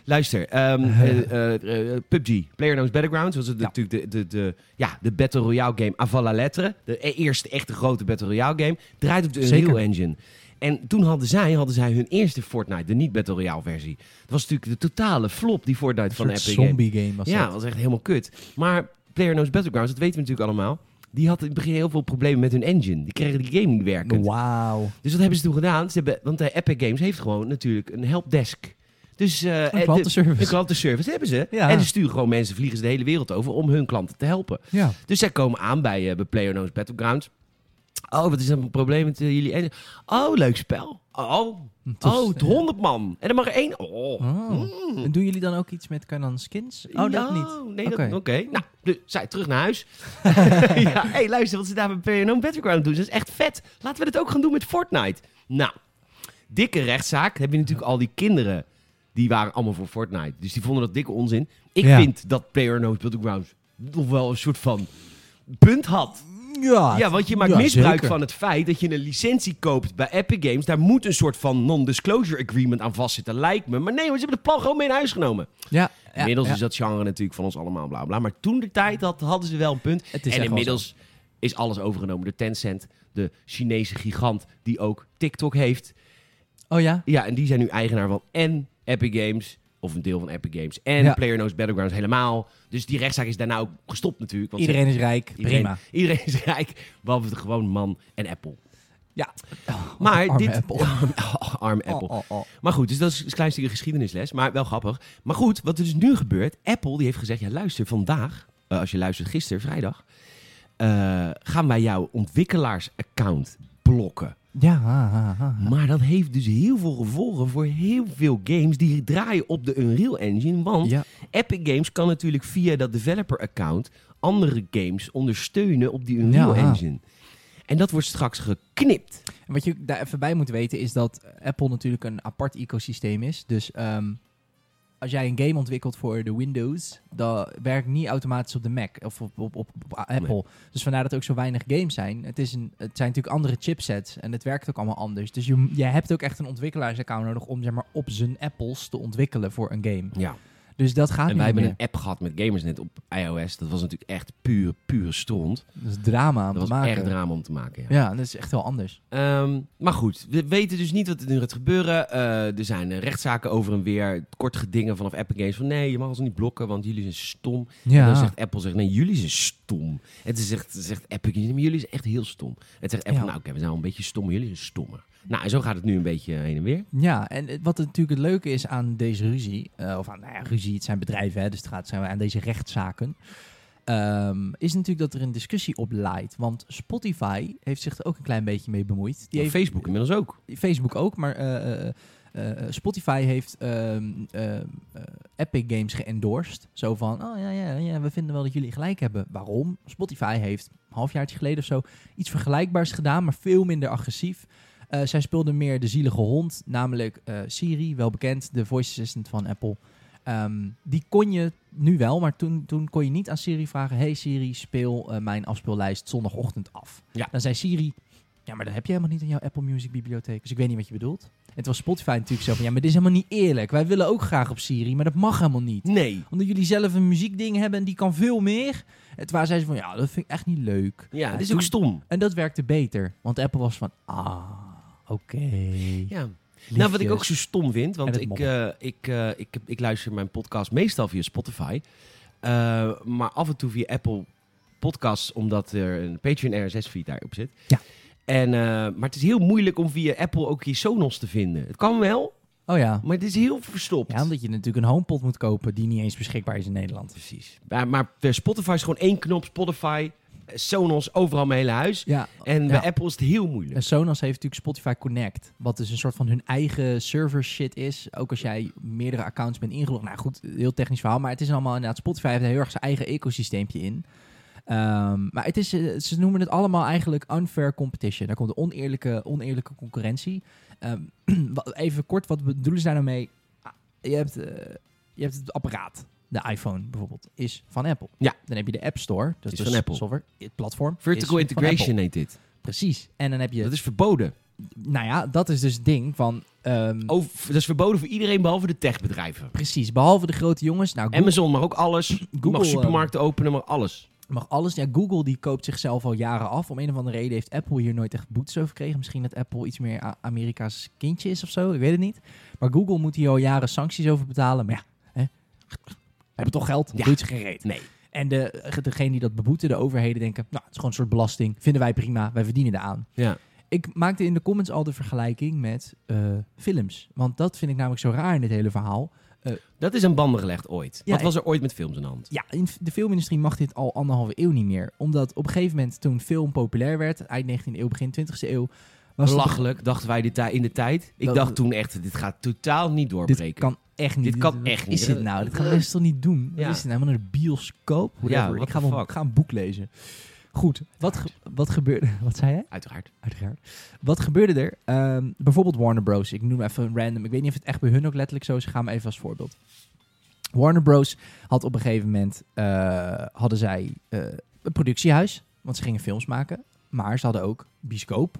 Speaker 1: Luister, ehm, eh, eh, eh, PUBG, PlayerUnknown's Battlegrounds, was het
Speaker 2: Ja.
Speaker 1: natuurlijk de, de, de, ja, de Battle Royale game avant la lettre. De e- eerste echte grote Battle Royale game. Draait op de Unreal
Speaker 2: Zeker.
Speaker 1: Engine. En toen hadden zij, hadden zij hun eerste Fortnite, de niet-Battle Royale versie. Dat was natuurlijk de totale flop, die Fortnite
Speaker 2: Een
Speaker 1: van
Speaker 2: soort
Speaker 1: Epic Games.
Speaker 2: zombie game was
Speaker 1: Ja,
Speaker 2: dat.
Speaker 1: dat was echt helemaal kut. Maar PlayerUnknown's Battlegrounds, dat weten we natuurlijk allemaal. Die had in het begin heel veel problemen met hun engine. Die kregen die game niet werkend.
Speaker 2: Wauw.
Speaker 1: Dus wat hebben ze toen gedaan? Ze hebben, want eh, Epic Games heeft gewoon natuurlijk een helpdesk. Dus eh, eh,
Speaker 2: Een
Speaker 1: de-
Speaker 2: klantenservice.
Speaker 1: een klantenservice hebben ze.
Speaker 2: Ja.
Speaker 1: En ze sturen gewoon mensen, vliegen ze de hele wereld over om hun klanten te helpen.
Speaker 2: Ja.
Speaker 1: Dus zij komen aan bij, eh bij PlayerUnknown's Battlegrounds. Oh, wat is dan een probleem met eh, jullie engine? Oh, leuk spel. Oh,
Speaker 2: Tof.
Speaker 1: oh, het 100 man. En er mag er één. Oh,
Speaker 2: Oh. En doen jullie dan ook iets met kan dan skins? Oh, dat niet.
Speaker 1: Nee, dat-
Speaker 2: Oké.
Speaker 1: oké. Nou, dus, zij terug naar huis. ja, hey, luister, wat ze daar met PNO Battleground doen, dat is echt vet. Laten we dit ook gaan doen met Fortnite. Nou, dikke rechtszaak. Heb je natuurlijk al die kinderen, die waren allemaal voor Fortnite. Dus die vonden dat dikke onzin. Ik
Speaker 2: Ja.
Speaker 1: vind dat PNO Battleground nog wel een soort van punt had.
Speaker 2: Ja,
Speaker 1: Ja, want je maakt
Speaker 2: ja,
Speaker 1: misbruik
Speaker 2: zeker.
Speaker 1: van het feit dat je een licentie koopt bij Epic Games. Daar moet een soort van non-disclosure agreement aan vastzitten, lijkt me. Maar nee, want ze hebben het plan gewoon mee naar huis genomen.
Speaker 2: Ja, ja,
Speaker 1: Inmiddels
Speaker 2: ja.
Speaker 1: is dat genre natuurlijk van ons allemaal bla bla. Maar toen de tijd had, hadden ze wel een punt.
Speaker 2: Het is echt
Speaker 1: En
Speaker 2: wel
Speaker 1: inmiddels is alles overgenomen door Tencent, de Chinese gigant die ook TikTok heeft.
Speaker 2: zo. Oh ja?
Speaker 1: Ja, en die zijn nu eigenaar van en Epic Games, of een deel van Epic Games, en
Speaker 2: Ja.
Speaker 1: PlayerUnknown's Battlegrounds helemaal. Dus die rechtszaak is daarna ook gestopt natuurlijk. Want ze-
Speaker 2: Iedereen is rijk.
Speaker 1: iedereen-
Speaker 2: Prima.
Speaker 1: Iedereen is rijk, behalve de gewoon man en Apple.
Speaker 2: Ja. Oh,
Speaker 1: Maar
Speaker 2: Arme
Speaker 1: dit...
Speaker 2: Apple.
Speaker 1: Arm
Speaker 2: Oh,
Speaker 1: Apple.
Speaker 2: oh, oh.
Speaker 1: Maar goed, dus dat is een klein stukje geschiedenisles, maar wel grappig. Maar goed, wat er dus nu gebeurt, Apple die heeft gezegd, ja luister, vandaag, eh, als je luistert gisteren, vrijdag, eh, gaan wij jouw ontwikkelaarsaccount blokken.
Speaker 2: Ja, ha, ha, ha.
Speaker 1: Maar dat heeft dus heel veel gevolgen voor heel veel games die draaien op de Unreal Engine, want
Speaker 2: ja.
Speaker 1: Epic Games kan natuurlijk via dat developer-account andere games ondersteunen op die Unreal
Speaker 2: Ja. ah.
Speaker 1: Engine. En dat wordt straks geknipt.
Speaker 2: En wat je daar even bij moet weten is dat Apple natuurlijk een apart ecosysteem is. Dus ehm, als jij een game ontwikkelt voor de Windows, dat werkt niet automatisch op de Mac of op, op, op, op Apple.
Speaker 1: Nee.
Speaker 2: Dus vandaar dat er ook zo weinig games zijn. Het, is een, het zijn natuurlijk andere chipsets en het werkt ook allemaal anders. Dus je, je hebt ook echt een ontwikkelaarsaccount nodig om zeg maar, op zijn Apples te ontwikkelen voor een game.
Speaker 1: Ja.
Speaker 2: Dus dat gaat
Speaker 1: En
Speaker 2: niet
Speaker 1: wij hebben
Speaker 2: meer.
Speaker 1: een app gehad met Gamersnet op iOS. Dat was natuurlijk echt puur, pure stront.
Speaker 2: Dat is drama aan
Speaker 1: Dat
Speaker 2: te
Speaker 1: was
Speaker 2: maken.
Speaker 1: echt drama om te maken. Ja.
Speaker 2: Ja, dat is echt wel anders.
Speaker 1: Ehm, maar goed, we weten dus niet wat er nu gaat gebeuren. Eh, er zijn eh, rechtszaken over en weer. Kort gedingen vanaf Epic Games van nee, je mag ons niet blokken, want jullie zijn stom. En dan zegt Apple zegt nee, jullie zijn stom. En dan zegt, zegt Epic Games, maar jullie zijn echt heel stom. En dan zegt Apple,
Speaker 2: Ja.
Speaker 1: nou oké, we zijn wel een beetje stom, maar jullie zijn stommer. Nou, en zo gaat het nu een beetje heen en weer.
Speaker 2: Ja, en het- wat natuurlijk het leuke is aan deze ruzie, eh, of aan nou ja, ruzie, het zijn bedrijven, hè, dus het gaat zijn we aan deze rechtszaken, ehm, is natuurlijk dat er een discussie op leidt. Want Spotify heeft zich er ook een klein beetje mee bemoeid. Die heeft,
Speaker 1: Facebook inmiddels ook.
Speaker 2: Facebook ook, maar eh, eh, eh, eh, Spotify heeft ehm, ehm, eh, Epic Games geëndorsed. Zo van, oh ja, ja, ja, we vinden wel dat jullie gelijk hebben. Waarom? Spotify heeft een halfjaartje geleden of zo iets vergelijkbaars gedaan, maar veel minder agressief. Eh, zij speelden meer de zielige hond, namelijk eh, Siri, wel bekend, de voice assistant van Apple. Ehm, die kon je nu wel, maar toen, toen kon je niet aan Siri vragen: Hey Siri, speel eh, mijn afspeellijst zondagochtend af.
Speaker 1: Ja.
Speaker 2: Dan zei Siri: Ja, maar dat heb je helemaal niet in jouw Apple Music bibliotheek, dus ik weet niet wat je bedoelt. En toen was Spotify natuurlijk zo van: Ja, maar dit is helemaal niet eerlijk. Wij willen ook graag op Siri, maar dat mag helemaal niet
Speaker 1: Nee.
Speaker 2: omdat jullie zelf een muziekding hebben en die kan veel meer. En Toen zei ze van, ja, dat vind ik echt niet leuk.
Speaker 1: Ja, dus dat is
Speaker 2: toen-
Speaker 1: ook stom.
Speaker 2: En dat werkte beter. Want Apple was van, ah, oké.
Speaker 1: Ja. Nou, wat ik ook zo stom vind,
Speaker 2: En
Speaker 1: want
Speaker 2: het
Speaker 1: ik,
Speaker 2: mobben.
Speaker 1: eh, ik, eh, ik, ik, luister mijn podcast meestal via Spotify. Eh, maar af en toe via Apple Podcasts, omdat er een Patreon RSS-feed daarop zit.
Speaker 2: Ja.
Speaker 1: En, eh, maar het is heel moeilijk om via Apple ook je Sonos te vinden. Het kan wel,
Speaker 2: Oh ja.
Speaker 1: maar het is heel verstopt.
Speaker 2: Ja, omdat je natuurlijk een homepod moet kopen die niet eens beschikbaar is in Nederland.
Speaker 1: Precies. Maar, maar per Spotify is gewoon één knop, Spotify. Sonos overal mijn hele huis.
Speaker 2: Ja,
Speaker 1: En
Speaker 2: ja.
Speaker 1: bij Apple is het heel moeilijk.
Speaker 2: En Sonos heeft natuurlijk Spotify Connect, wat dus een soort van hun eigen server shit is. Ook als jij meerdere accounts bent ingelogd. Nou goed, heel technisch verhaal, maar het is allemaal inderdaad, Spotify heeft heel erg zijn eigen ecosysteempje in. Ehm, maar het is, eh, ze noemen het allemaal eigenlijk unfair competition. Daar komt de oneerlijke, oneerlijke concurrentie. Ehm, wa- even kort, wat bedoelen ze daar nou mee? Ah, Je hebt, eh, je hebt het apparaat, de iPhone bijvoorbeeld, is van Apple.
Speaker 1: Ja.
Speaker 2: Dan heb je de App Store, dat
Speaker 1: Is
Speaker 2: is dus
Speaker 1: van Apple.
Speaker 2: software, het platform. is
Speaker 1: Vertical
Speaker 2: van
Speaker 1: integration
Speaker 2: Apple.
Speaker 1: heet dit.
Speaker 2: Precies. En dan heb je
Speaker 1: Dat is verboden.
Speaker 2: nou ja, dat is dus het ding van. ehm,
Speaker 1: Over, dat is verboden voor iedereen behalve de techbedrijven.
Speaker 2: Precies, behalve de grote jongens. Nou, Google
Speaker 1: Amazon mag ook alles.
Speaker 2: Google,
Speaker 1: mag
Speaker 2: eh,
Speaker 1: supermarkten openen, maar alles.
Speaker 2: mag alles. Ja, Google die koopt zichzelf al jaren af. Om een of andere reden heeft Apple hier nooit echt boetes over gekregen. Misschien dat Apple iets meer A- Amerika's kindje is of zo. Ik weet het niet. Maar Google moet hier al jaren sancties over betalen. Maar ja, hè? We hebben toch geld?
Speaker 1: Ja.
Speaker 2: Doet ze geen reet.
Speaker 1: Nee.
Speaker 2: En de, degene die dat beboeten, de overheden, denken... Nou, het is gewoon een soort belasting. Vinden wij prima. Wij verdienen eraan.
Speaker 1: Ja.
Speaker 2: Ik maakte in de comments al de vergelijking met eh, films. Want dat vind ik namelijk zo raar in dit hele verhaal.
Speaker 1: Dat is aan banden gelegd ooit.
Speaker 2: Ja,
Speaker 1: Wat was er ooit met films aan de hand?
Speaker 2: Ja, in de filmindustrie mag dit al anderhalve eeuw niet meer. Omdat op een gegeven moment toen film populair werd, eind 19e eeuw, begin 20e eeuw, was het-
Speaker 1: Belachelijk, dachten wij dit in de tijd. Ik
Speaker 2: Dat-
Speaker 1: dacht toen echt, dit gaat totaal niet
Speaker 2: dit
Speaker 1: doorbreken.
Speaker 2: kan echt niet.
Speaker 1: Dit kan
Speaker 2: Wat
Speaker 1: echt
Speaker 2: Is
Speaker 1: niet.
Speaker 2: dit nou? Dit gaan mensen toch niet doen?
Speaker 1: Ja.
Speaker 2: Wat is dit nou? Maar naar de bioscoop? Whatever.
Speaker 1: what
Speaker 2: ik ga
Speaker 1: the
Speaker 2: wel
Speaker 1: fuck.
Speaker 2: ik ga een boek lezen. Goed, wat, ge- wat gebeurde... Wat zei jij?
Speaker 1: Uiteraard.
Speaker 2: Uiteraard. Wat gebeurde er? Ehm, bijvoorbeeld Warner Bros. Ik noem even een random. Ik weet niet of het echt bij hun ook letterlijk zo is. Ik ga hem even als voorbeeld. Warner Bros. had op een gegeven moment eh, hadden zij eh, een productiehuis, want ze gingen films maken, maar ze hadden ook bioscoop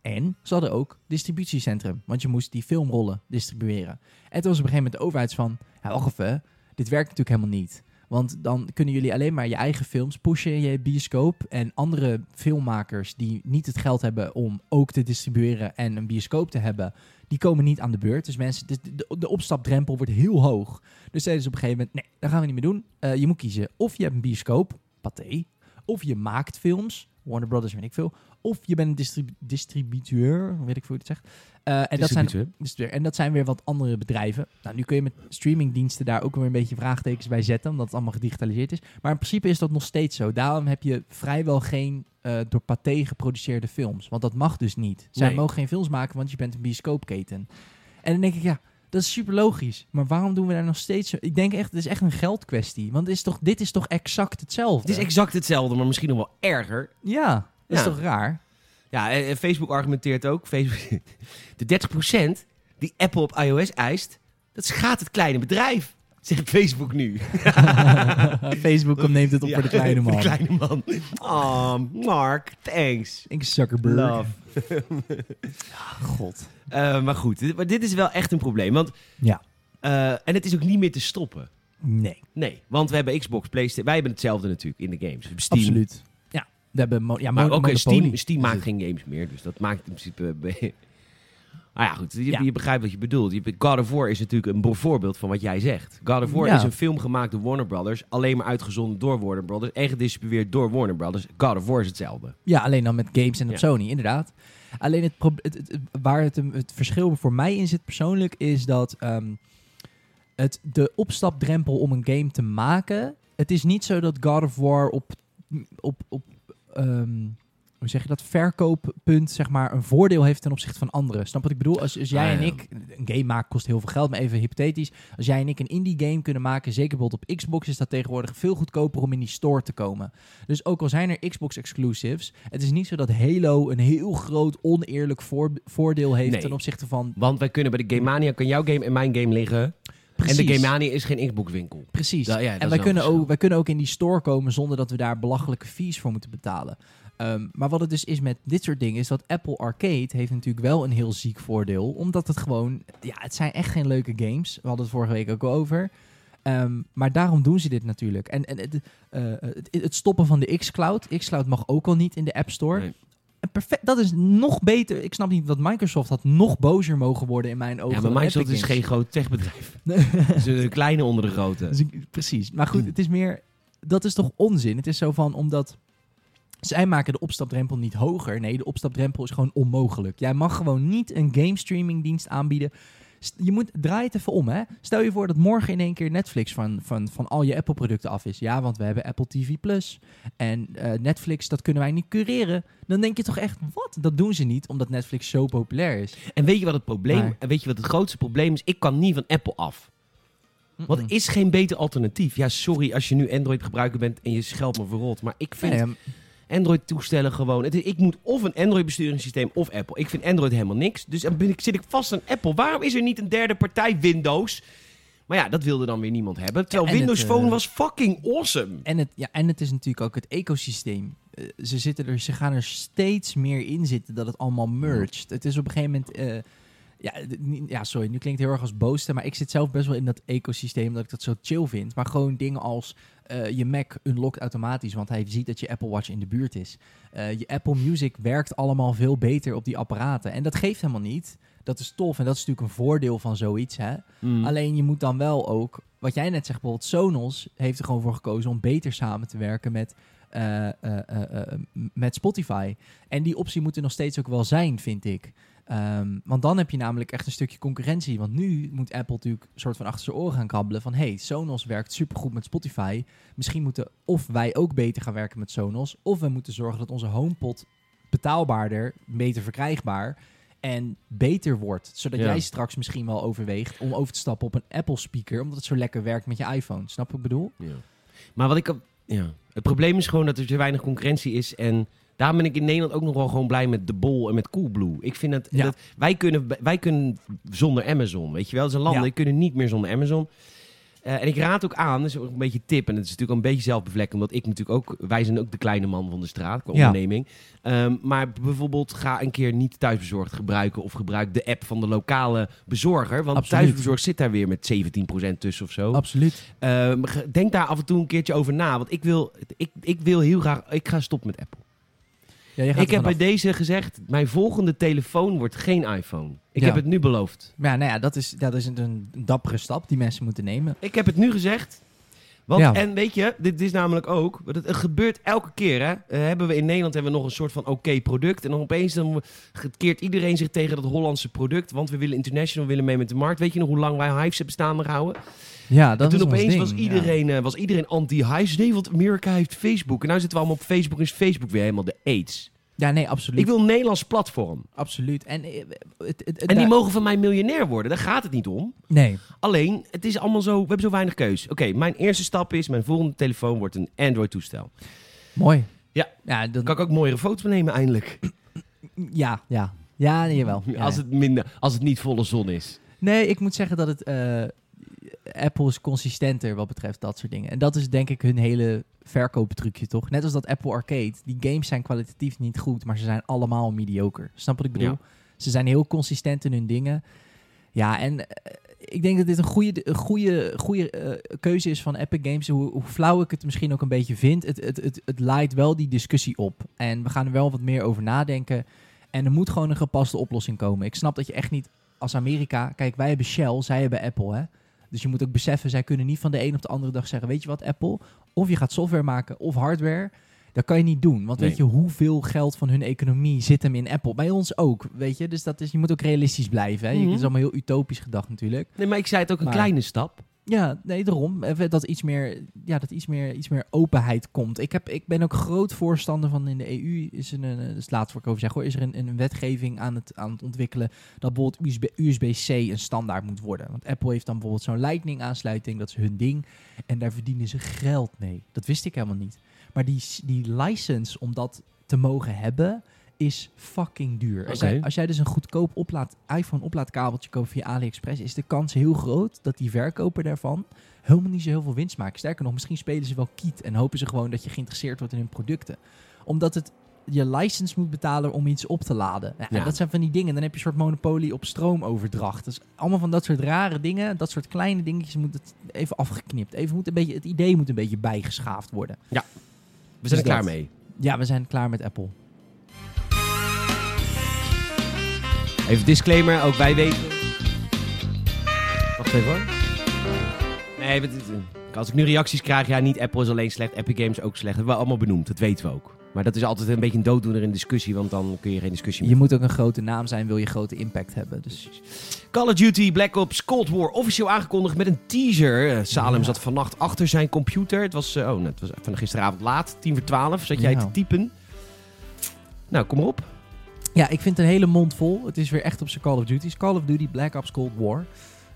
Speaker 2: en ze hadden ook distributiecentrum, want je moest die filmrollen distribueren. En toen was op een gegeven moment de overheid van, ja, wacht even, dit werkt natuurlijk helemaal niet. Want dan kunnen jullie alleen maar je eigen films pushen in je bioscoop. En andere filmmakers die niet het geld hebben om ook te distribueren en een bioscoop te hebben, die komen niet aan de beurt. Dus mensen, de, de, de opstapdrempel wordt heel hoog. Dus zeiden ze op een gegeven moment, nee, dat gaan we niet meer doen. Eh, je moet kiezen, of je hebt een bioscoop, Pathé, of je maakt films, Warner Brothers, weet ik veel. Of je bent een distribu- distributeur, weet ik veel hoe je het zegt. Eh, en dat zijn
Speaker 1: Distributeur.
Speaker 2: dus weer- en dat zijn weer wat andere bedrijven. Nou, nu kun je met streamingdiensten daar ook weer een beetje vraagtekens bij zetten, omdat het allemaal gedigitaliseerd is. Maar in principe is dat nog steeds zo. Daarom heb je vrijwel geen eh, door Pathé geproduceerde films. Want dat mag dus niet. Zij
Speaker 1: Nee.
Speaker 2: mogen geen films maken, want je bent een bioscoopketen. En dan denk ik, ja, dat is super logisch. Maar waarom doen we daar nog steeds zo? Ik denk echt, het is echt een geldkwestie. Want het is toch, dit is toch exact
Speaker 1: Het
Speaker 2: hetzelfde?
Speaker 1: is exact hetzelfde, maar misschien nog wel erger.
Speaker 2: ja, dat is
Speaker 1: Ja.
Speaker 2: toch raar?
Speaker 1: Ja, en en Facebook argumenteert ook. Facebook, de 30% die Apple op iOS eist, dat schaadt het kleine bedrijf. Zegt Facebook nu.
Speaker 2: Facebook neemt het op
Speaker 1: Ja,
Speaker 2: voor de kleine man.
Speaker 1: Voor de kleine man. Oh, Mark, thanks.
Speaker 2: Ik Zuckerberg.
Speaker 1: Love.
Speaker 2: God.
Speaker 1: Eh, maar goed, dit, maar dit is wel echt een probleem. Want,
Speaker 2: Ja.
Speaker 1: eh, en het is ook niet meer te stoppen.
Speaker 2: Nee.
Speaker 1: Nee, want we hebben Xbox, PlayStation. Wij hebben hetzelfde natuurlijk in de games. Steam.
Speaker 2: Absoluut. Ja, we hebben mo- ja,
Speaker 1: Maar
Speaker 2: mo-
Speaker 1: ook eh,
Speaker 2: Monopoly.
Speaker 1: Steam, Steam
Speaker 2: Dus
Speaker 1: maakt
Speaker 2: het-
Speaker 1: geen games meer, dus dat maakt in principe... Nou ja, goed, je,
Speaker 2: Ja.
Speaker 1: je begrijpt wat je bedoelt. Je- God of War is natuurlijk een bo- voorbeeld van wat jij zegt. God of War
Speaker 2: Ja.
Speaker 1: is een film gemaakt door Warner Brothers, alleen maar uitgezonden door Warner Brothers en gedistribueerd door Warner Brothers. God of War is hetzelfde.
Speaker 2: Ja, alleen dan met games en op
Speaker 1: Ja.
Speaker 2: Sony, inderdaad. Alleen het, prob- het, het- het- waar het, hem- het verschil voor mij in zit persoonlijk is dat ehm, het, de opstapdrempel om een game te maken. Het is niet zo dat God of War op, op, op ehm, hoe zeg je dat, verkooppunt zeg maar, een voordeel heeft ten opzichte van anderen. Snap wat ik bedoel? Als, als jij
Speaker 1: Ah,
Speaker 2: en
Speaker 1: ja.
Speaker 2: ik, een game maken kost heel veel geld, maar even hypothetisch. Als jij en ik een indie game kunnen maken, zeker bijvoorbeeld op Xbox, is dat tegenwoordig veel goedkoper om in die store te komen. Dus ook al zijn er Xbox exclusives, het is niet zo dat Halo een heel groot oneerlijk voor- voordeel heeft
Speaker 1: Nee.
Speaker 2: ten opzichte van.
Speaker 1: Want wij kunnen bij de Game Mania, kan jouw game en mijn game liggen.
Speaker 2: Precies.
Speaker 1: En de Game Mania is geen Xbox winkel.
Speaker 2: Precies.
Speaker 1: Da- ja, dat is
Speaker 2: en wij
Speaker 1: wel
Speaker 2: kunnen,
Speaker 1: een verschil.
Speaker 2: ook, wij kunnen ook in die store komen zonder dat we daar belachelijke fees voor moeten betalen. Ehm, maar wat het dus is met dit soort dingen, is dat Apple Arcade heeft natuurlijk wel een heel ziek voordeel. Omdat het gewoon, ja, het zijn echt geen leuke games. We hadden het vorige week ook al over. Ehm, maar daarom doen ze dit natuurlijk. En, en het, eh, het, het stoppen van de xCloud. xCloud mag ook al niet in de App Store.
Speaker 1: Nee.
Speaker 2: En Perfect, dat is nog beter. Ik snap niet dat Microsoft had nog bozer mogen worden in mijn ogen.
Speaker 1: Ja,
Speaker 2: dan
Speaker 1: maar Microsoft
Speaker 2: Epic
Speaker 1: is geen
Speaker 2: Games.
Speaker 1: groot techbedrijf. Ze zijn de kleine onder de grote.
Speaker 2: Dus ik- precies. Maar goed, het is meer. Dat is toch onzin? Het is zo van omdat. Zij maken de opstapdrempel niet hoger. Nee, de opstapdrempel is gewoon onmogelijk. Jij mag gewoon niet een game streaming dienst aanbieden. st- je moet, draai het even om, hè. Stel je voor dat morgen in één keer Netflix van, van, van al je Apple-producten af is. Ja, want we hebben Apple TV+. Plus En eh, Netflix, dat kunnen wij niet cureren. Dan denk je toch echt, wat? Dat doen ze niet, omdat Netflix zo populair is.
Speaker 1: En weet je wat het probleem
Speaker 2: Maar-
Speaker 1: En weet je wat het grootste probleem is? Ik kan niet van Apple af. Want er
Speaker 2: Mm-mm.
Speaker 1: is geen beter alternatief. Ja, sorry als je nu Android gebruiker bent en je scheldt me verrot. Maar ik vind
Speaker 2: Nee, ehm,
Speaker 1: Android toestellen gewoon... Het, is- ik moet of een Android besturingssysteem of Apple. Ik vind Android helemaal niks. Dus dan ben ik, zit ik vast aan Apple. Waarom is er niet een derde partij Windows? Maar ja, dat wilde dan weer niemand hebben. Terwijl
Speaker 2: en het,
Speaker 1: Windows Phone
Speaker 2: eh,
Speaker 1: was fucking awesome.
Speaker 2: En het, ja, en het is natuurlijk ook het ecosysteem. Eh, ze, zitten er, ze gaan er steeds meer in zitten dat het allemaal merged. Het is op een gegeven moment. eh, ja, d- niet- ja, sorry, nu klinkt het heel erg als boosste. Maar ik zit zelf best wel in dat ecosysteem dat ik dat zo chill vind. Maar gewoon dingen als eh, je Mac unlockt automatisch, want hij ziet dat je Apple Watch in de buurt is. Eh, je Apple Music werkt allemaal veel beter op die apparaten. En dat geeft helemaal niet. Dat is tof en dat is natuurlijk een voordeel van zoiets. Hè?
Speaker 1: Mm.
Speaker 2: Alleen je moet dan wel ook, wat jij net zegt, bijvoorbeeld Sonos heeft er gewoon voor gekozen om beter samen te werken met, eh, eh, eh, eh, m- met Spotify. En die optie moet er nog steeds ook wel zijn, vind ik. Ehm, want dan heb je namelijk echt een stukje concurrentie. Want nu moet Apple natuurlijk een soort van achter zijn oren gaan krabbelen van... hey, Sonos werkt supergoed met Spotify. Misschien moeten of wij ook beter gaan werken met Sonos... of we moeten zorgen dat onze HomePod betaalbaarder, beter verkrijgbaar... en beter wordt. Zodat
Speaker 1: Ja.
Speaker 2: jij straks misschien wel overweegt om over te stappen op een Apple speaker... omdat het zo lekker werkt met je iPhone. Snap je wat ik bedoel?
Speaker 1: Ja. Maar wat ik... op- Ja. Het probleem is gewoon dat er te weinig concurrentie is en... Daarom ben ik in Nederland ook nog wel gewoon blij met De Bol en met Coolblue. Ik vind dat,
Speaker 2: Ja.
Speaker 1: dat wij, kunnen, wij kunnen zonder Amazon, weet je wel. Dat zijn landen,
Speaker 2: Ja.
Speaker 1: die kunnen niet meer zonder Amazon. Eh, en ik raad ook aan, dat is ook een beetje tip, en het is natuurlijk ook een beetje zelfbevlekking, omdat ik natuurlijk ook, wij zijn ook de kleine man van de straat qua
Speaker 2: Ja.
Speaker 1: onderneming. Ehm, maar bijvoorbeeld ga een keer niet thuisbezorgd gebruiken of gebruik de app van de lokale bezorger, want
Speaker 2: Absoluut.
Speaker 1: thuisbezorgd zit daar weer met 17% tussen of zo.
Speaker 2: Absoluut.
Speaker 1: Ehm, ge- denk daar af en toe een keertje over na. Want ik wil, ik, ik wil heel graag. Ik ga stoppen met Apple.
Speaker 2: Ja, je gaat
Speaker 1: Ik
Speaker 2: er
Speaker 1: heb bij
Speaker 2: vanaf.
Speaker 1: deze gezegd: mijn volgende telefoon wordt geen iPhone. Ik
Speaker 2: Ja.
Speaker 1: heb het nu beloofd.
Speaker 2: Maar Ja, nou ja, dat is, dat is een, een dappere stap die mensen moeten nemen.
Speaker 1: Ik heb het nu gezegd. Want,
Speaker 2: Ja.
Speaker 1: En weet je, dit is namelijk ook. want Het, het gebeurt elke keer. Hè? Eh, hebben we in Nederland hebben we nog een soort van oké product. En dan opeens dan keert iedereen zich tegen dat Hollandse product. Want we willen international, we willen mee met de markt. Weet je nog hoe lang wij Hives hebben staan gehouden?
Speaker 2: Ja, dat
Speaker 1: en
Speaker 2: is
Speaker 1: toen
Speaker 2: ons
Speaker 1: Dus opeens was,
Speaker 2: ding, ja.
Speaker 1: iedereen, eh, was iedereen anti-Hives. Nee, want Amerika heeft Facebook. En nu zitten we allemaal op Facebook. En is Facebook weer helemaal de AIDS.
Speaker 2: Ja, nee, absoluut.
Speaker 1: Ik wil een Nederlands platform.
Speaker 2: Absoluut. Hm. En, eh, het, het, het-
Speaker 1: En die
Speaker 2: daar-
Speaker 1: mogen van mij miljonair worden. Daar gaat het niet om.
Speaker 2: Nee,
Speaker 1: Alleen, het is allemaal zo... We hebben zo weinig keus. Oké, mijn eerste stap is... Mijn volgende telefoon wordt een Android-toestel.
Speaker 2: mooi.
Speaker 1: Ja.
Speaker 2: Ja, dan,
Speaker 1: Kan ik ook mooiere foto's nemen eindelijk.
Speaker 2: ja, ja. Ja, nee, jawel. Ja,
Speaker 1: Als,
Speaker 2: ja.
Speaker 1: het minder, als het niet volle zon is.
Speaker 2: Nee, ik moet zeggen dat het... eh, Apple is consistenter wat betreft dat soort dingen. En dat is denk ik hun hele verkooptrucje, toch? Net als dat Apple Arcade. Die games zijn kwalitatief niet goed, maar ze zijn allemaal mediocre. Snap wat ik bedoel?
Speaker 1: Ja.
Speaker 2: Ze zijn heel consistent in hun dingen. Ja, en eh, ik denk dat dit een goede, een goede, goede eh, keuze is van Epic Games. Hoe, hoe flauw ik het misschien ook een beetje vind. Het, het, het, het leidt wel die discussie op. En we gaan er wel wat meer over nadenken. En er moet gewoon een gepaste oplossing komen. Ik snap dat je echt niet als Amerika... Kijk, wij hebben Shell, zij hebben Apple, hè. Dus je moet ook beseffen, zij kunnen niet van de een op de andere dag zeggen... Weet je wat, Apple? Of je gaat software maken of hardware... Dat kan je niet doen, want
Speaker 1: Nee.
Speaker 2: weet je hoeveel geld van hun economie zit hem in Apple? Bij ons ook, weet je? Dus dat is, je moet ook realistisch blijven. Hè? Je-
Speaker 1: Mhm.
Speaker 2: Het is allemaal heel utopisch gedacht natuurlijk.
Speaker 1: Nee, maar ik zei het ook, een
Speaker 2: Maar-
Speaker 1: kleine stap.
Speaker 2: Ja, nee, daarom. Even Dat iets meer, ja, dat iets meer, iets meer openheid komt. Ik, heb, ik ben ook groot voorstander van in de EU, is een, eh, dat is het laatste wat ik over zeg hoor, is er een, een wetgeving aan het, aan het ontwikkelen dat bijvoorbeeld USB, USB-C een standaard moet worden. Want Apple heeft dan bijvoorbeeld zo'n lightning aansluiting, dat is hun ding. En daar verdienen ze geld mee. Dat wist ik helemaal niet. Maar die, s- die license om dat te mogen hebben, is fucking duur. Als,
Speaker 1: Oké.
Speaker 2: jij, als jij dus een goedkoop oplaad, iPhone oplaadkabeltje koopt via AliExpress, is de kans heel groot dat die verkoper daarvan helemaal niet zo heel veel winst maakt. Sterker nog, misschien spelen ze wel kiet en hopen ze gewoon dat je geïnteresseerd wordt in hun producten. Omdat het je license moet betalen om iets op te laden. Ja, en
Speaker 1: Ja.
Speaker 2: Dat zijn van die dingen. Dan heb je een soort monopolie op stroomoverdracht. Dus allemaal van dat soort rare dingen, dat soort kleine dingetjes moet het even afgeknipt. Even moet een beetje, het idee moet een beetje bijgeschaafd worden.
Speaker 1: We zijn er
Speaker 2: Dus
Speaker 1: klaar
Speaker 2: dat.
Speaker 1: mee.
Speaker 2: Ja, we zijn klaar met Apple.
Speaker 1: Even disclaimer, ook wij weten... Wacht even hoor. Nee, wat- als ik nu reacties krijg, ja, niet Apple is alleen slecht, Epic Games ook slecht. Dat hebben we allemaal benoemd, dat weten we ook. Maar dat is altijd een beetje een dooddoener in discussie, want dan kun je geen discussie
Speaker 2: Je
Speaker 1: meer.
Speaker 2: moet ook een grote naam zijn, wil je grote impact hebben. Dus
Speaker 1: Call of Duty Black Ops Cold War officieel aangekondigd met een teaser. Eh, Salem
Speaker 2: Ja.
Speaker 1: zat vannacht achter zijn computer. Het was, eh, oh, nee, het was van gisteravond laat, tien voor twaalf, zat jij
Speaker 2: Ja.
Speaker 1: te typen. Nou, kom maar op.
Speaker 2: ja, ik vind het een hele mond vol. Het is weer echt op zijn Call of Duty's. Call of Duty Black Ops Cold War.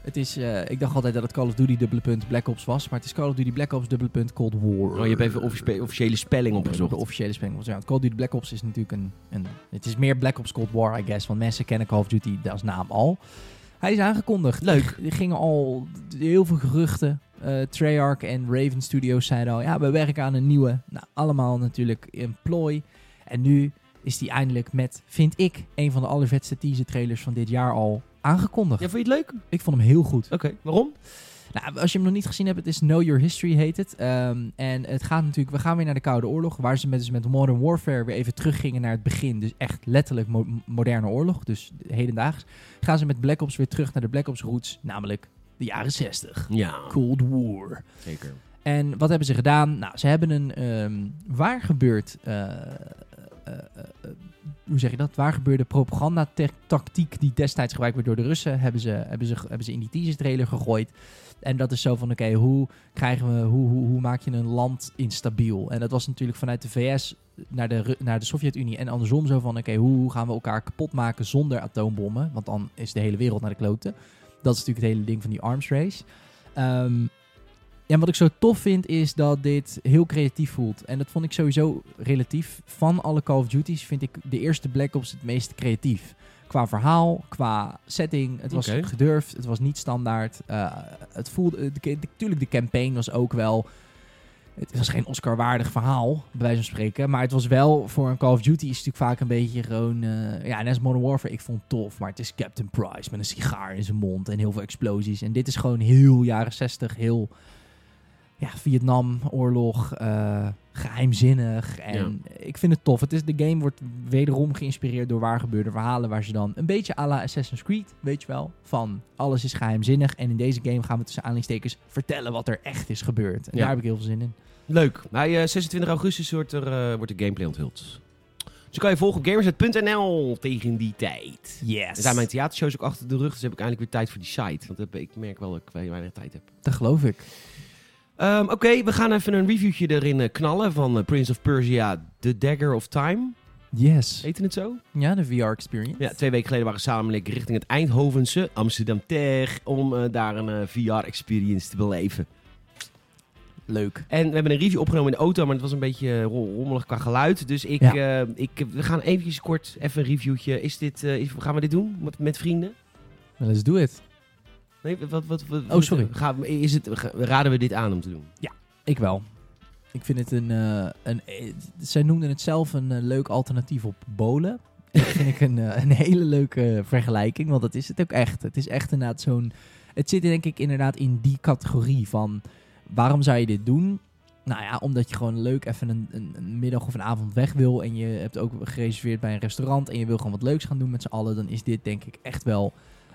Speaker 2: Het is, eh, ik dacht altijd dat het Call of Duty dubbele punt Black Ops was, maar het is Call of Duty Black Ops dubbele punt Cold War.
Speaker 1: Oh, je hebt even office- officiële spelling opgezocht.
Speaker 2: De officiële spelling. Ja, want Call of Duty Black Ops is natuurlijk een, een... Het is meer Black Ops Cold War, I guess. Want mensen kennen Call of Duty als naam al. Hij is aangekondigd.
Speaker 1: Leuk.
Speaker 2: Er gingen al heel veel geruchten. Eh, Treyarch en Raven Studios zeiden al... Ja, we werken aan een nieuwe. Nou, allemaal natuurlijk in plooi. En nu is die eindelijk met, vind ik... een van de allervetste teaser trailers van dit jaar al aangekondigd.
Speaker 1: Ja, vond je het leuk?
Speaker 2: Ik vond hem heel goed.
Speaker 1: Oké, waarom?
Speaker 2: Nou, als je hem nog niet gezien hebt, het is Know Your History heet het. Ehm, en het gaat natuurlijk, we gaan weer naar de Koude Oorlog, waar ze met, dus met Modern Warfare weer even teruggingen naar het begin. Dus echt letterlijk mo- moderne oorlog, dus hedendaags. Gaan ze met Black Ops weer terug naar de Black Ops roots, namelijk de jaren 60.
Speaker 1: Ja,
Speaker 2: Cold War.
Speaker 1: zeker.
Speaker 2: En wat hebben ze gedaan? Nou, ze hebben een ehm, waar gebeurd. eh, eh, eh, eh, hoe zeg je dat? Waar gebeurde propagandatactiek die destijds gebruikt werd door de Russen, hebben ze, hebben ze, hebben ze in die teaser trailer gegooid. En dat is zo van: oké, hoe krijgen we, hoe, hoe, hoe maak je een land instabiel? En dat was natuurlijk vanuit de VS naar de, Ru- naar de Sovjet-Unie en andersom zo van: oké, hoe, hoe gaan we elkaar kapot maken zonder atoombommen? Want dan is de hele wereld naar de kloten. Dat is natuurlijk het hele ding van die arms race. Ehm ja, en wat ik zo tof vind is dat dit heel creatief voelt. En dat vond ik sowieso relatief. Van alle Call of Duty's vind ik de eerste Black Ops het meest creatief. Qua verhaal, qua setting. Het was
Speaker 1: Oké.
Speaker 2: gedurfd, het was niet standaard. Eh, het voelde, eh, de, de- tuurlijk, de campaign was ook wel... Het was geen Oscar-waardig verhaal, bij wijze van spreken. Maar het was wel, voor een Call of Duty is het natuurlijk vaak een beetje gewoon... eh, ja, net als Modern Warfare, ik vond het tof. Maar het is Captain Price met een sigaar in zijn mond en heel veel explosies. En dit is gewoon heel jaren 60, heel ja, Vietnamoorlog, eh geheimzinnig. En ik vind het tof. Het is, de game wordt wederom geïnspireerd door waar gebeurde verhalen. Waar ze dan een beetje à la Assassin's Creed, weet je wel, van alles is geheimzinnig. En in deze game gaan we tussen aanhalingstekens vertellen wat er echt is gebeurd. En
Speaker 1: Ja.
Speaker 2: daar heb ik heel veel zin in.
Speaker 1: Leuk. Bij eh, 26 augustus wordt, er, eh, wordt de gameplay onthuld. Dus kan je volgen op gamersnet.nl tegen die tijd. Er
Speaker 2: Yes.
Speaker 1: zijn mijn theatershows ook achter de rug, dus heb ik eindelijk weer tijd voor die site. Want dat- ik merk wel dat ik we- weinig tijd heb.
Speaker 2: Dat geloof ik.
Speaker 1: Ehm, Oké, we gaan even een reviewtje erin eh, knallen van eh, Prince of Persia, The Dagger of Time.
Speaker 2: Yes.
Speaker 1: Heette het zo?
Speaker 2: Ja, de VR-experience.
Speaker 1: Ja, twee weken geleden waren we samen en ik richting het Eindhovense Amsterdam Tech om eh, daar een VR-experience te beleven.
Speaker 2: Leuk.
Speaker 1: En we hebben een review opgenomen in de auto, maar het was een beetje eh, ro- rommelig qua geluid. Dus ik, eh, ik, we gaan eventjes kort even een reviewtje. Is dit, eh, is- gaan we dit doen met, met vrienden?
Speaker 2: Let's do it.
Speaker 1: Nee, wat, wat, wat,
Speaker 2: Oh, sorry.
Speaker 1: Gaan we- is het, ga- raden we dit aan om te doen?
Speaker 2: Ik wel. Ik vind het een... eh, een eh, zij noemden het zelf een eh, leuk alternatief op bolen. dat vind ik een, eh, een hele leuke vergelijking, want dat is het ook echt. Het is echt inderdaad zo'n... Het zit denk ik inderdaad in die categorie van... Waarom zou je dit doen? Nou ja, omdat je gewoon leuk even een, een, een middag of een avond weg wil... en je hebt ook gereserveerd bij een restaurant... en je wil gewoon wat leuks gaan doen met z'n allen... dan is dit denk ik echt wel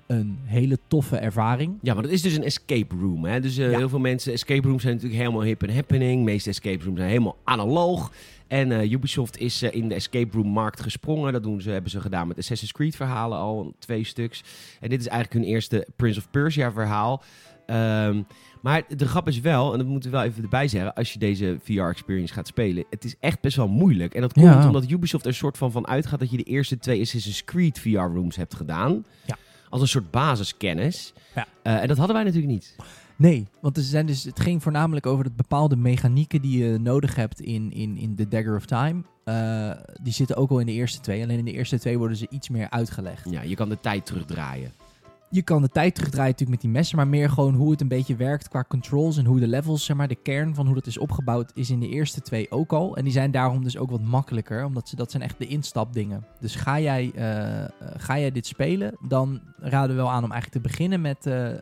Speaker 2: een hele toffe ervaring.
Speaker 1: Ja, maar dat is dus een escape room. Hè? Dus eh,
Speaker 2: Ja.
Speaker 1: heel veel mensen, escape rooms zijn natuurlijk helemaal hip en happening. De meeste escape rooms zijn helemaal analoog. En eh, Ubisoft is eh, in de escape room markt gesprongen. Dat doen ze, hebben ze gedaan met Assassin's Creed verhalen al, twee stuks. En dit is eigenlijk hun eerste Prince of Persia verhaal. Ehm, maar de grap is wel, en dat moeten we wel even erbij zeggen, als je deze VR-experience gaat spelen, het is echt best wel moeilijk. En dat komt
Speaker 2: Ja.
Speaker 1: omdat Ubisoft er soort van van uitgaat dat je de eerste twee Assassin's Creed VR-rooms hebt gedaan.
Speaker 2: Ja.
Speaker 1: Als een soort basiskennis. Eh, en dat hadden wij natuurlijk niet.
Speaker 2: Nee, want er zijn dus, het ging voornamelijk over dat bepaalde mechanieken die je nodig hebt in, in, in The Dagger of Time. eh, die zitten ook al in de eerste twee. Alleen in de eerste twee worden ze iets meer uitgelegd.
Speaker 1: Ja, je kan de tijd terugdraaien.
Speaker 2: Je kan de tijd terugdraaien natuurlijk met die messen, maar meer gewoon hoe het een beetje werkt qua controls en hoe de levels, zeg maar, de kern van hoe dat is opgebouwd, is in de eerste twee ook al. En die zijn daarom dus ook wat makkelijker, omdat ze, dat zijn echt de instapdingen. Dus ga jij, eh, eh, ga jij dit spelen, dan raden we wel aan om eigenlijk te beginnen met, eh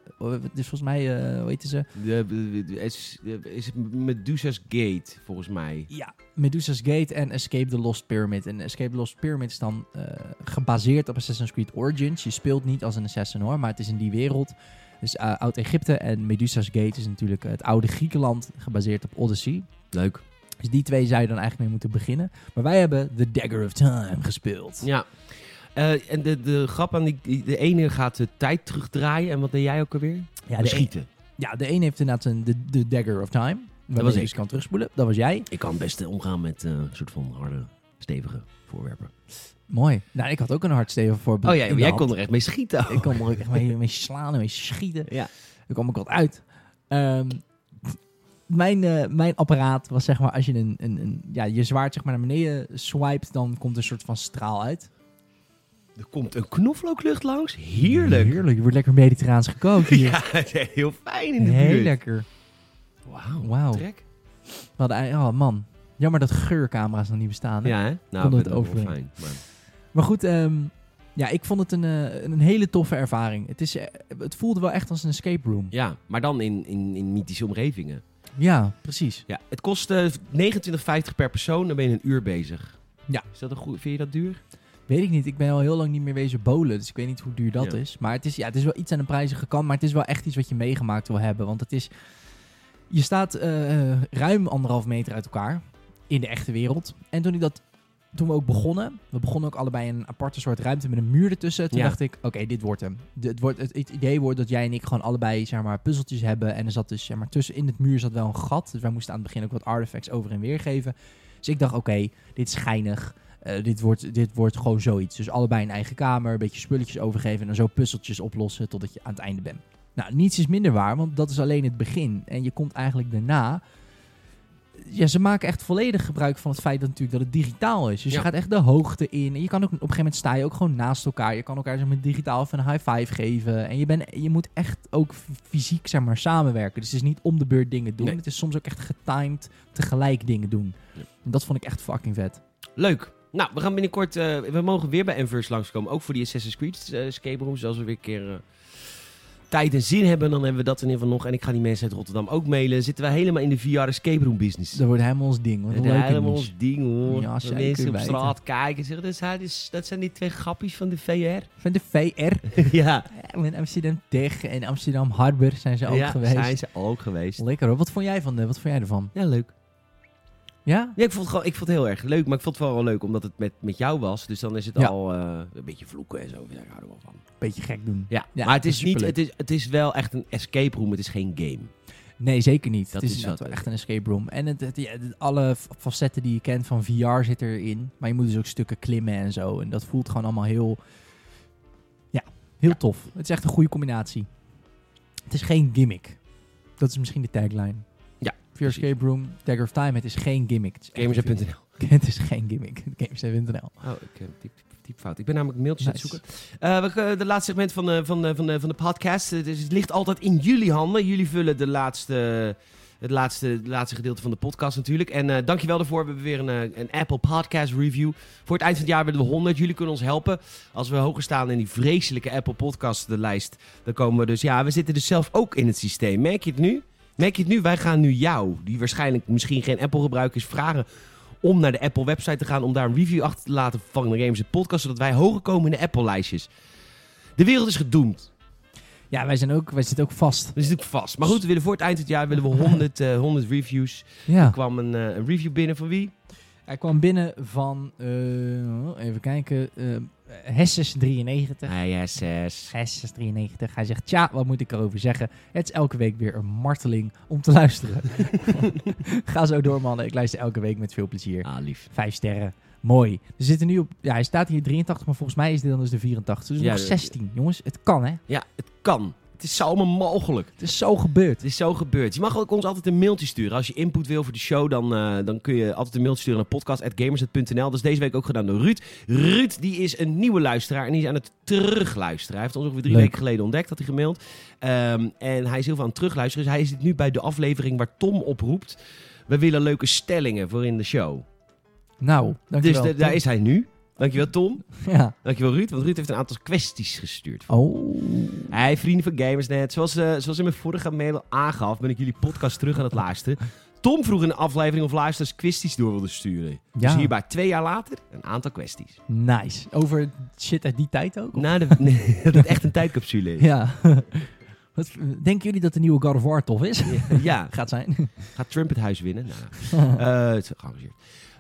Speaker 2: dus volgens mij, eh hoe heette ze?
Speaker 1: De, de- de- is, is het Medusa's Gate, volgens mij.
Speaker 2: Ja, Medusa's Gate en Escape the Lost Pyramid. En Escape the Lost Pyramid is dan eh, gebaseerd op Assassin's Creed Origins. Je speelt niet als een assassin hoor, maar het is in die wereld. Dus eh, Oud-Egypte en Medusa's Gate is natuurlijk het oude Griekenland, gebaseerd op Odyssey.
Speaker 1: Leuk.
Speaker 2: Dus die twee zou je dan eigenlijk mee moeten beginnen. Maar wij hebben The Dagger of Time gespeeld.
Speaker 1: Ja. Eh, en de, de grap aan die, de ene gaat de tijd terugdraaien. En wat deed jij ook alweer? e-
Speaker 2: Ja, de een,
Speaker 1: Beschieten.
Speaker 2: ja, de een heeft inderdaad een, de, de Dagger of Time. Dat
Speaker 1: was
Speaker 2: was ik.
Speaker 1: ik.
Speaker 2: Dus kan terugspoelen. Dat was jij.
Speaker 1: Ik kan best eh, omgaan met eh, een soort van harde, stevige voorwerpen.
Speaker 2: Mooi. Nou, ik had ook een hardstevig voorbeeld.
Speaker 1: Oh ja,
Speaker 2: in de
Speaker 1: jij
Speaker 2: hand.
Speaker 1: kon er echt mee schieten. ook.
Speaker 2: Ik kon er echt mee, mee slaan en mee schieten.
Speaker 1: Ja.
Speaker 2: Daar kwam ik wat uit. Ehm, mijn, eh, mijn apparaat was zeg maar, als je een, een, een, ja, je zwaard zeg maar naar beneden swipet, dan komt een soort van straal uit.
Speaker 1: Er komt een knoflooklucht langs. Heerlijk.
Speaker 2: Heerlijk, je wordt lekker mediterraans gekookt hier.
Speaker 1: Ja, het is heel fijn in de
Speaker 2: Heel
Speaker 1: buurt.
Speaker 2: lekker.
Speaker 1: Wauw.
Speaker 2: Wauw.
Speaker 1: Trek.
Speaker 2: We hadden ei- Oh man, jammer dat geurcamera's nog niet bestaan. hè?
Speaker 1: Ja, hè? Nou,
Speaker 2: Konden
Speaker 1: ik vind
Speaker 2: het
Speaker 1: het ook wel fijn.
Speaker 2: overbrengen.
Speaker 1: Maar...
Speaker 2: Maar goed, ehm, ja, ik vond het een, eh, een hele toffe ervaring. Het, is, eh, het voelde wel echt als een escape room.
Speaker 1: Ja, maar dan in, in, in mythische omgevingen.
Speaker 2: Ja, precies.
Speaker 1: Ja, het kost eh, 29,50 per persoon. Dan ben je een uur bezig.
Speaker 2: Ja.
Speaker 1: Is dat een goed... Vind je dat duur?
Speaker 2: Weet ik niet. Ik ben al heel lang niet meer wezen bolen. Dus ik weet niet hoe duur dat
Speaker 1: Ja.
Speaker 2: is. Maar het is, ja, het is wel iets aan de prijzige kant. Maar het is wel echt iets wat je meegemaakt wil hebben. Want het is... Je staat eh, ruim anderhalf meter uit elkaar. In de echte wereld. En toen ik dat... Toen we ook begonnen, we begonnen ook allebei in een aparte soort ruimte met een muur ertussen. Toen
Speaker 1: Ja.
Speaker 2: dacht ik, oké, dit wordt hem. De- Het, wordt, het, het idee wordt dat jij en ik gewoon allebei, zeg maar, puzzeltjes hebben. En er zat dus, zeg maar, tussen in het muur zat wel een gat. Dus wij moesten aan het begin ook wat artifacts over en weer geven. Dus ik dacht, oké, dit is geinig. Eh, dit, wordt, dit wordt gewoon zoiets. Dus allebei een eigen kamer, een beetje spulletjes overgeven en dan zo puzzeltjes oplossen totdat je aan het einde bent. Nou, niets is minder waar, want dat is alleen het begin. En je komt eigenlijk daarna. Ja, ze maken echt volledig gebruik van het feit dat, natuurlijk dat het digitaal is. Dus
Speaker 1: Ja.
Speaker 2: je gaat echt de hoogte in. En je kan ook op een gegeven moment sta je ook gewoon naast elkaar. Je kan elkaar zeg maar, digitaal even een high five geven. En je, bent je moet echt ook f- fysiek zeg maar, samenwerken. Dus het is niet om de beurt dingen doen.
Speaker 1: Nee.
Speaker 2: Het is soms ook echt getimed tegelijk dingen doen.
Speaker 1: Ja.
Speaker 2: En dat vond ik echt fucking vet.
Speaker 1: Leuk. Nou, we gaan binnenkort... eh, we mogen weer bij Enverse langskomen. Ook voor die Assassin's Creed eh, escape rooms. Dus als we weer een keer... eh, Tijd en zin hebben, dan hebben we dat in ieder geval nog. En ik ga die mensen uit Rotterdam ook mailen. Zitten wij helemaal in de VR escape room business?
Speaker 2: Dat wordt helemaal ons ding. Wat een
Speaker 1: Het
Speaker 2: leuke
Speaker 1: helemaal
Speaker 2: niche.
Speaker 1: ons ding hoor.
Speaker 2: Ja,
Speaker 1: Dat
Speaker 2: zeker
Speaker 1: mensen op
Speaker 2: weten.
Speaker 1: straat kijken en zeggen, dat zijn, die- dat zijn die twee grappies van de VR.
Speaker 2: Van de VR.
Speaker 1: ja,
Speaker 2: In Amsterdam Tech en Amsterdam Harbor zijn ze ook
Speaker 1: ja
Speaker 2: geweest.
Speaker 1: zijn ze ook geweest.
Speaker 2: Lekker hoor. Wat vond jij, van de, wat vond jij ervan?
Speaker 1: Ja, leuk.
Speaker 2: Ja?
Speaker 1: Ja, ik vond het, gewoon, ik vond het heel erg leuk, maar ik vond het vooral leuk omdat het met, met jou was. Dus dan is het
Speaker 2: Ja.
Speaker 1: al eh, een beetje vloeken en zo. Ja, ik hou er wel van.
Speaker 2: Beetje gek doen.
Speaker 1: Ja,
Speaker 2: Ja,
Speaker 1: maar het
Speaker 2: dat
Speaker 1: is,
Speaker 2: is
Speaker 1: niet,
Speaker 2: superleuk.
Speaker 1: het, is, het is wel echt een escape room, het is geen game.
Speaker 2: Nee, zeker niet.
Speaker 1: Dat
Speaker 2: het
Speaker 1: is
Speaker 2: is inderdaad
Speaker 1: wat,
Speaker 2: wel
Speaker 1: hè.
Speaker 2: echt een escape room. En het, het- ja, het- alle f- facetten die je kent van VR zit erin. Maar je moet dus ook stukken klimmen en zo. En dat voelt gewoon allemaal heel... Ja, heel tof. Het is echt een goede combinatie. Het is geen gimmick. Dat is misschien de tagline.
Speaker 1: Ja,
Speaker 2: VR Escape Room, Dagger of Time. Het is geen gimmick. Het is echt een
Speaker 1: Gamers.nl.
Speaker 2: Het is geen gimmick. Gamers.nl.
Speaker 1: Oh, ik heb diep, diep fout. Ik ben namelijk mailtjes aan
Speaker 2: Nice.
Speaker 1: het zoeken. Eh, we, eh, de laatste segment van, eh, van, eh, van, eh, van de podcast. Eh, dus het ligt altijd in jullie handen. Jullie vullen de laatste, het laatste, het laatste gedeelte van de podcast natuurlijk. En eh dankjewel daarvoor. We hebben weer een, eh, een Apple Podcast Review. Voor het eind van het jaar willen we 100. Jullie kunnen ons helpen. Als we hoger staan in die vreselijke Apple Podcast de lijst. Dan komen we dus... Ja, we zitten dus zelf ook in het systeem. Merk je het nu? Merk je het nu? Wij gaan nu jou, die waarschijnlijk misschien geen Apple gebruiker is, vragen om naar de Apple website te gaan om daar een review achter te laten van de Games en Podcast, zodat wij hoger komen in de Apple lijstjes. De wereld is gedoemd.
Speaker 2: Ja, wij, zijn ook, wij zitten ook vast.
Speaker 1: Dat is natuurlijk vast. Maar goed, we willen voor het eind van het jaar willen we 100, eh, 100 reviews. Er
Speaker 2: Ja.
Speaker 1: kwam een, eh, een review binnen van wie?
Speaker 2: Hij kwam binnen van, eh, even kijken, eh Hesses93.
Speaker 1: ISS.
Speaker 2: Hesses93. Hij zegt, tja, wat moet ik erover zeggen? Het is elke week weer een marteling om te luisteren. Ga zo door, mannen. Ik luister elke week met veel plezier.
Speaker 1: Ah, lief.
Speaker 2: Vijf sterren. Mooi. We zitten nu op, ja, hij staat hier 83, maar volgens mij is dit dan dus de 84. Dus
Speaker 1: Ja,
Speaker 2: nog
Speaker 1: dat-
Speaker 2: 16. Jongens, het kan, hè?
Speaker 1: Ja, het kan. Het is allemaal mogelijk.
Speaker 2: Het is zo gebeurd.
Speaker 1: Het is zo gebeurd. Je mag ook ons altijd een mailtje sturen. Als je input wil voor de show, dan, eh, dan kun je altijd een mailtje sturen naar podcast.gamers.nl. Dat is deze week ook gedaan door Ruud. Ruud, die is een nieuwe luisteraar en die is aan het terugluisteren. Hij heeft ons ongeveer drie
Speaker 2: Leuk.
Speaker 1: weken geleden ontdekt, had hij gemaild. Ehm, en hij is heel veel aan het terugluisteren. Dus hij zit nu bij de aflevering waar Tom oproept. We willen leuke stellingen voor in de show.
Speaker 2: Nou, dankjewel.
Speaker 1: dus da- daar is hij nu. Dankjewel Tom.
Speaker 2: Ja.
Speaker 1: Dankjewel Ruud, want Ruud heeft een aantal kwesties gestuurd.
Speaker 2: Oh.
Speaker 1: Hey, vrienden van Gamersnet. Zoals, eh, zoals in mijn vorige mail aangaf, ben ik jullie podcast terug aan het luisteren. Tom vroeg in de aflevering of luisteraars kwesties door wilden sturen. Dus
Speaker 2: Ja.
Speaker 1: hierbij twee jaar later een aantal kwesties.
Speaker 2: Nice. Over shit uit die tijd ook? of?
Speaker 1: Na de, nee, dat het echt een tijdcapsule is.
Speaker 2: Ja. Wat, denken jullie dat de nieuwe God of War tof is?
Speaker 1: ja,
Speaker 2: Gaat zijn.
Speaker 1: gaat Trump het huis winnen? Nou, eh, het is gearrangeerd.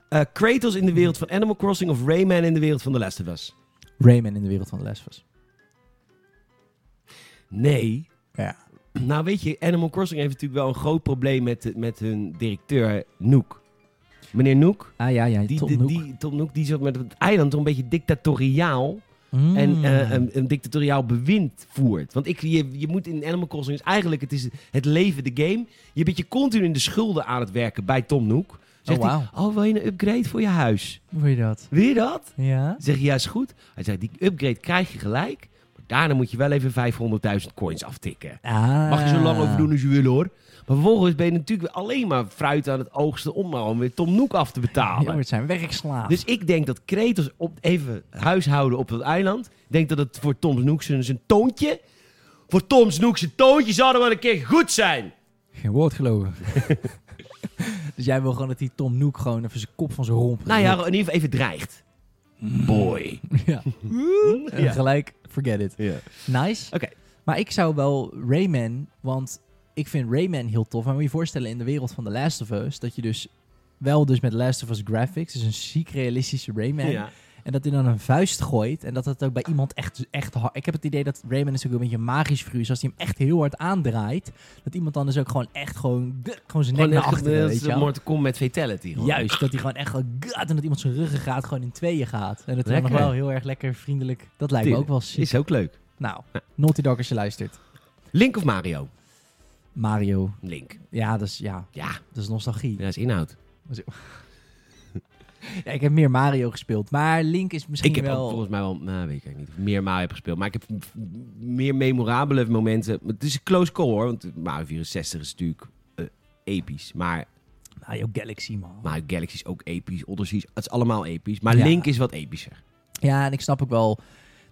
Speaker 1: Eh, Kratos in de wereld van Animal Crossing of Rayman in de wereld van The Last of Us?
Speaker 2: Rayman in de wereld van de lesbos.
Speaker 1: Nee.
Speaker 2: Ja.
Speaker 1: Nou weet je, Animal Crossing heeft natuurlijk wel een groot probleem met, met hun directeur Nook. Meneer Nook,
Speaker 2: Ah ja, ja,
Speaker 1: die,
Speaker 2: Tom
Speaker 1: die,
Speaker 2: Nook.
Speaker 1: die- Tom Nook, die zat met het eiland toch een beetje dictatoriaal
Speaker 2: Mm.
Speaker 1: en eh, een, een dictatoriaal bewind voert. Want ik, je, je moet in Animal Crossing is eigenlijk, het is het leven, de game. Je bent je continu in de schulden aan het werken bij Tom Nook. Zegt
Speaker 2: oh, wauw.
Speaker 1: hij, oh wil je een upgrade voor je huis?
Speaker 2: Hoe je dat?
Speaker 1: Wil je dat?
Speaker 2: Ja.
Speaker 1: Zeg je juist goed? Hij zei, die upgrade krijg je gelijk. Maar daarna moet je wel even 500.000 coins aftikken.
Speaker 2: Ah.
Speaker 1: Mag je zo lang over doen als je wil hoor. Maar vervolgens ben je natuurlijk weer alleen maar fruit aan het oogsten om maar om weer Tom Nook af te betalen.
Speaker 2: Jongen, het zijn werkslaaf.
Speaker 1: Dus ik denk dat Kretos op, even huishouden op dat eiland. Ik denk dat het voor Tom Snoek zijn zijn toontje. Voor Tom Snoek zijn toontje zou er wel een keer goed zijn.
Speaker 2: Geen woord geloven. dus jij wil gewoon dat die Tom Nook gewoon even zijn kop van zijn romp...
Speaker 1: Nou ja, in ieder geval even dreigt. Boy.
Speaker 2: ja. En
Speaker 1: Ja.
Speaker 2: gelijk, forget it.
Speaker 1: Ja.
Speaker 2: Nice.
Speaker 1: Oké.
Speaker 2: Maar ik zou wel Rayman, want ik vind Rayman heel tof. Maar moet je je voorstellen in de wereld van The Last of Us, dat je dus wel dus met Last of Us graphics, dus een ziek realistische Rayman,
Speaker 1: Ja.
Speaker 2: en dat hij dan een vuist gooit en dat het ook bij iemand echt, echt hard... Ik heb het idee dat Rayman is ook een beetje een magisch figuur, dus als hij hem echt heel hard aandraait, dat iemand dan dus ook gewoon echt gewoon, gewoon zijn nek
Speaker 1: Gewoon
Speaker 2: naar
Speaker 1: echt, eh,
Speaker 2: achteren,
Speaker 1: dat
Speaker 2: weet
Speaker 1: is
Speaker 2: je wel.
Speaker 1: Mortal Kombat Fatality. gewoon.
Speaker 2: Juist, dat hij gewoon echt gewoon gaat en dat iemand zijn ruggengraat gewoon in tweeën gaat. En dat hij nog
Speaker 1: Lekker.
Speaker 2: wel heel erg lekker vriendelijk. Dat lijkt me
Speaker 1: Tuurlijk.
Speaker 2: ook wel ziek.
Speaker 1: Is ook leuk.
Speaker 2: Nou, Naughty Dog als je luistert.
Speaker 1: Link of Mario?
Speaker 2: Mario,
Speaker 1: Link.
Speaker 2: ja, dat is, ja,
Speaker 1: Ja,
Speaker 2: dat is nostalgie.
Speaker 1: dat is inhoud.
Speaker 2: Ja, ik heb meer Mario gespeeld, maar Link is misschien
Speaker 1: ik heb
Speaker 2: wel...
Speaker 1: ook volgens mij wel, nou weet ik eigenlijk niet, of ik meer Mario heb gespeeld. Maar ik heb v- meer memorabele momenten. Maar Het is een close call hoor, want Mario 64 is natuurlijk eh, episch. Maar
Speaker 2: Mario Nou, Galaxy, man.
Speaker 1: Mario Galaxy is ook episch, Odyssey is, het is allemaal episch. Maar
Speaker 2: Ja.
Speaker 1: Link is wat epischer.
Speaker 2: Ja, en ik snap ook wel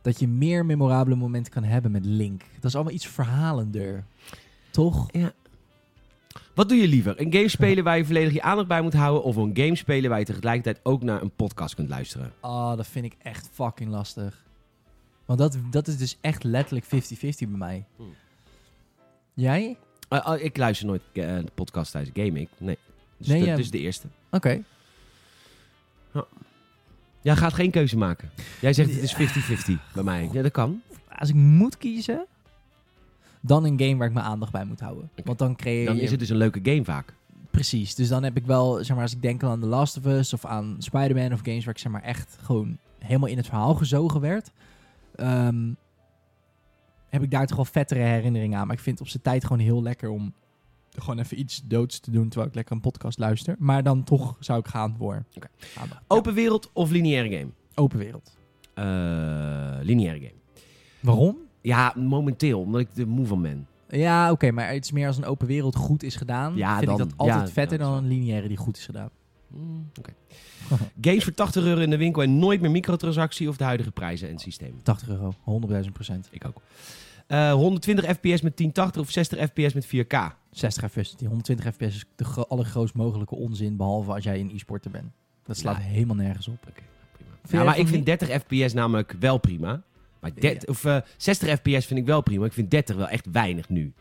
Speaker 2: dat je meer memorabele momenten kan hebben met Link. Dat is allemaal iets verhalender. Toch?
Speaker 1: Wat doe je liever? Een game spelen waar je volledig je aandacht bij moet houden... of een game spelen waar je tegelijkertijd ook naar een podcast kunt luisteren?
Speaker 2: Ah, dat vind ik echt fucking lastig. Want dat, dat is dus echt letterlijk 50-50 bij mij.
Speaker 1: Hmm.
Speaker 2: Jij?
Speaker 1: Eh, oh, ik luister nooit eh, podcast tijdens game, ik. Nee. Dus
Speaker 2: Nee,
Speaker 1: dat
Speaker 2: ja.
Speaker 1: dat is de eerste.
Speaker 2: Oké.
Speaker 1: Jij gaat geen keuze maken. Jij zegt het is 50-50 bij mij. Ja, dat kan.
Speaker 2: Als ik moet kiezen, dan een game waar ik mijn aandacht bij moet houden.
Speaker 1: Oké.
Speaker 2: Want dan creëer
Speaker 1: Dan
Speaker 2: je...
Speaker 1: is het dus een leuke game vaak.
Speaker 2: Precies. Dus dan heb ik wel, zeg maar, als ik denk aan The Last of Us of aan Spider-Man of games waar ik zeg maar echt gewoon helemaal in het verhaal gezogen werd, ehm, heb ik daar toch wel vettere herinneringen aan. Maar ik vind het op zijn tijd gewoon heel lekker om gewoon even iets doods te doen terwijl ik lekker een podcast luister. Maar dan toch zou ik gaan voor
Speaker 1: Oké.
Speaker 2: aandacht.
Speaker 1: Open wereld of lineaire game?
Speaker 2: Ja, open wereld.
Speaker 1: Eh, lineaire game.
Speaker 2: Waarom?
Speaker 1: Ja, momenteel, omdat ik er moe van ben.
Speaker 2: Ja, oké, maar iets meer als een open wereld goed is gedaan,
Speaker 1: Ja,
Speaker 2: vind
Speaker 1: dan-
Speaker 2: ik dat
Speaker 1: ja,
Speaker 2: altijd vetter
Speaker 1: ja, dat
Speaker 2: dan
Speaker 1: is
Speaker 2: een lineaire die goed is gedaan.
Speaker 1: Oké. Games voor 80 euro in de winkel en nooit meer microtransactie of de huidige prijzen en systemen.
Speaker 2: 80 euro, 100.000 procent.
Speaker 1: Ik ook. Eh, 120 fps met 1080 of 60 fps met 4K.
Speaker 2: 60 fps. Die 120 fps is de gro- allergrootst mogelijke onzin, behalve als jij een e-sporter bent. Dat slaat
Speaker 1: Ja.
Speaker 2: helemaal nergens op.
Speaker 1: Prima.
Speaker 2: je
Speaker 1: Ja, maar
Speaker 2: dat
Speaker 1: ik vind
Speaker 2: niet?
Speaker 1: 30 fps namelijk wel prima. Maar dert- of, eh, 60 fps vind ik wel prima. Ik vind 30 wel echt weinig nu.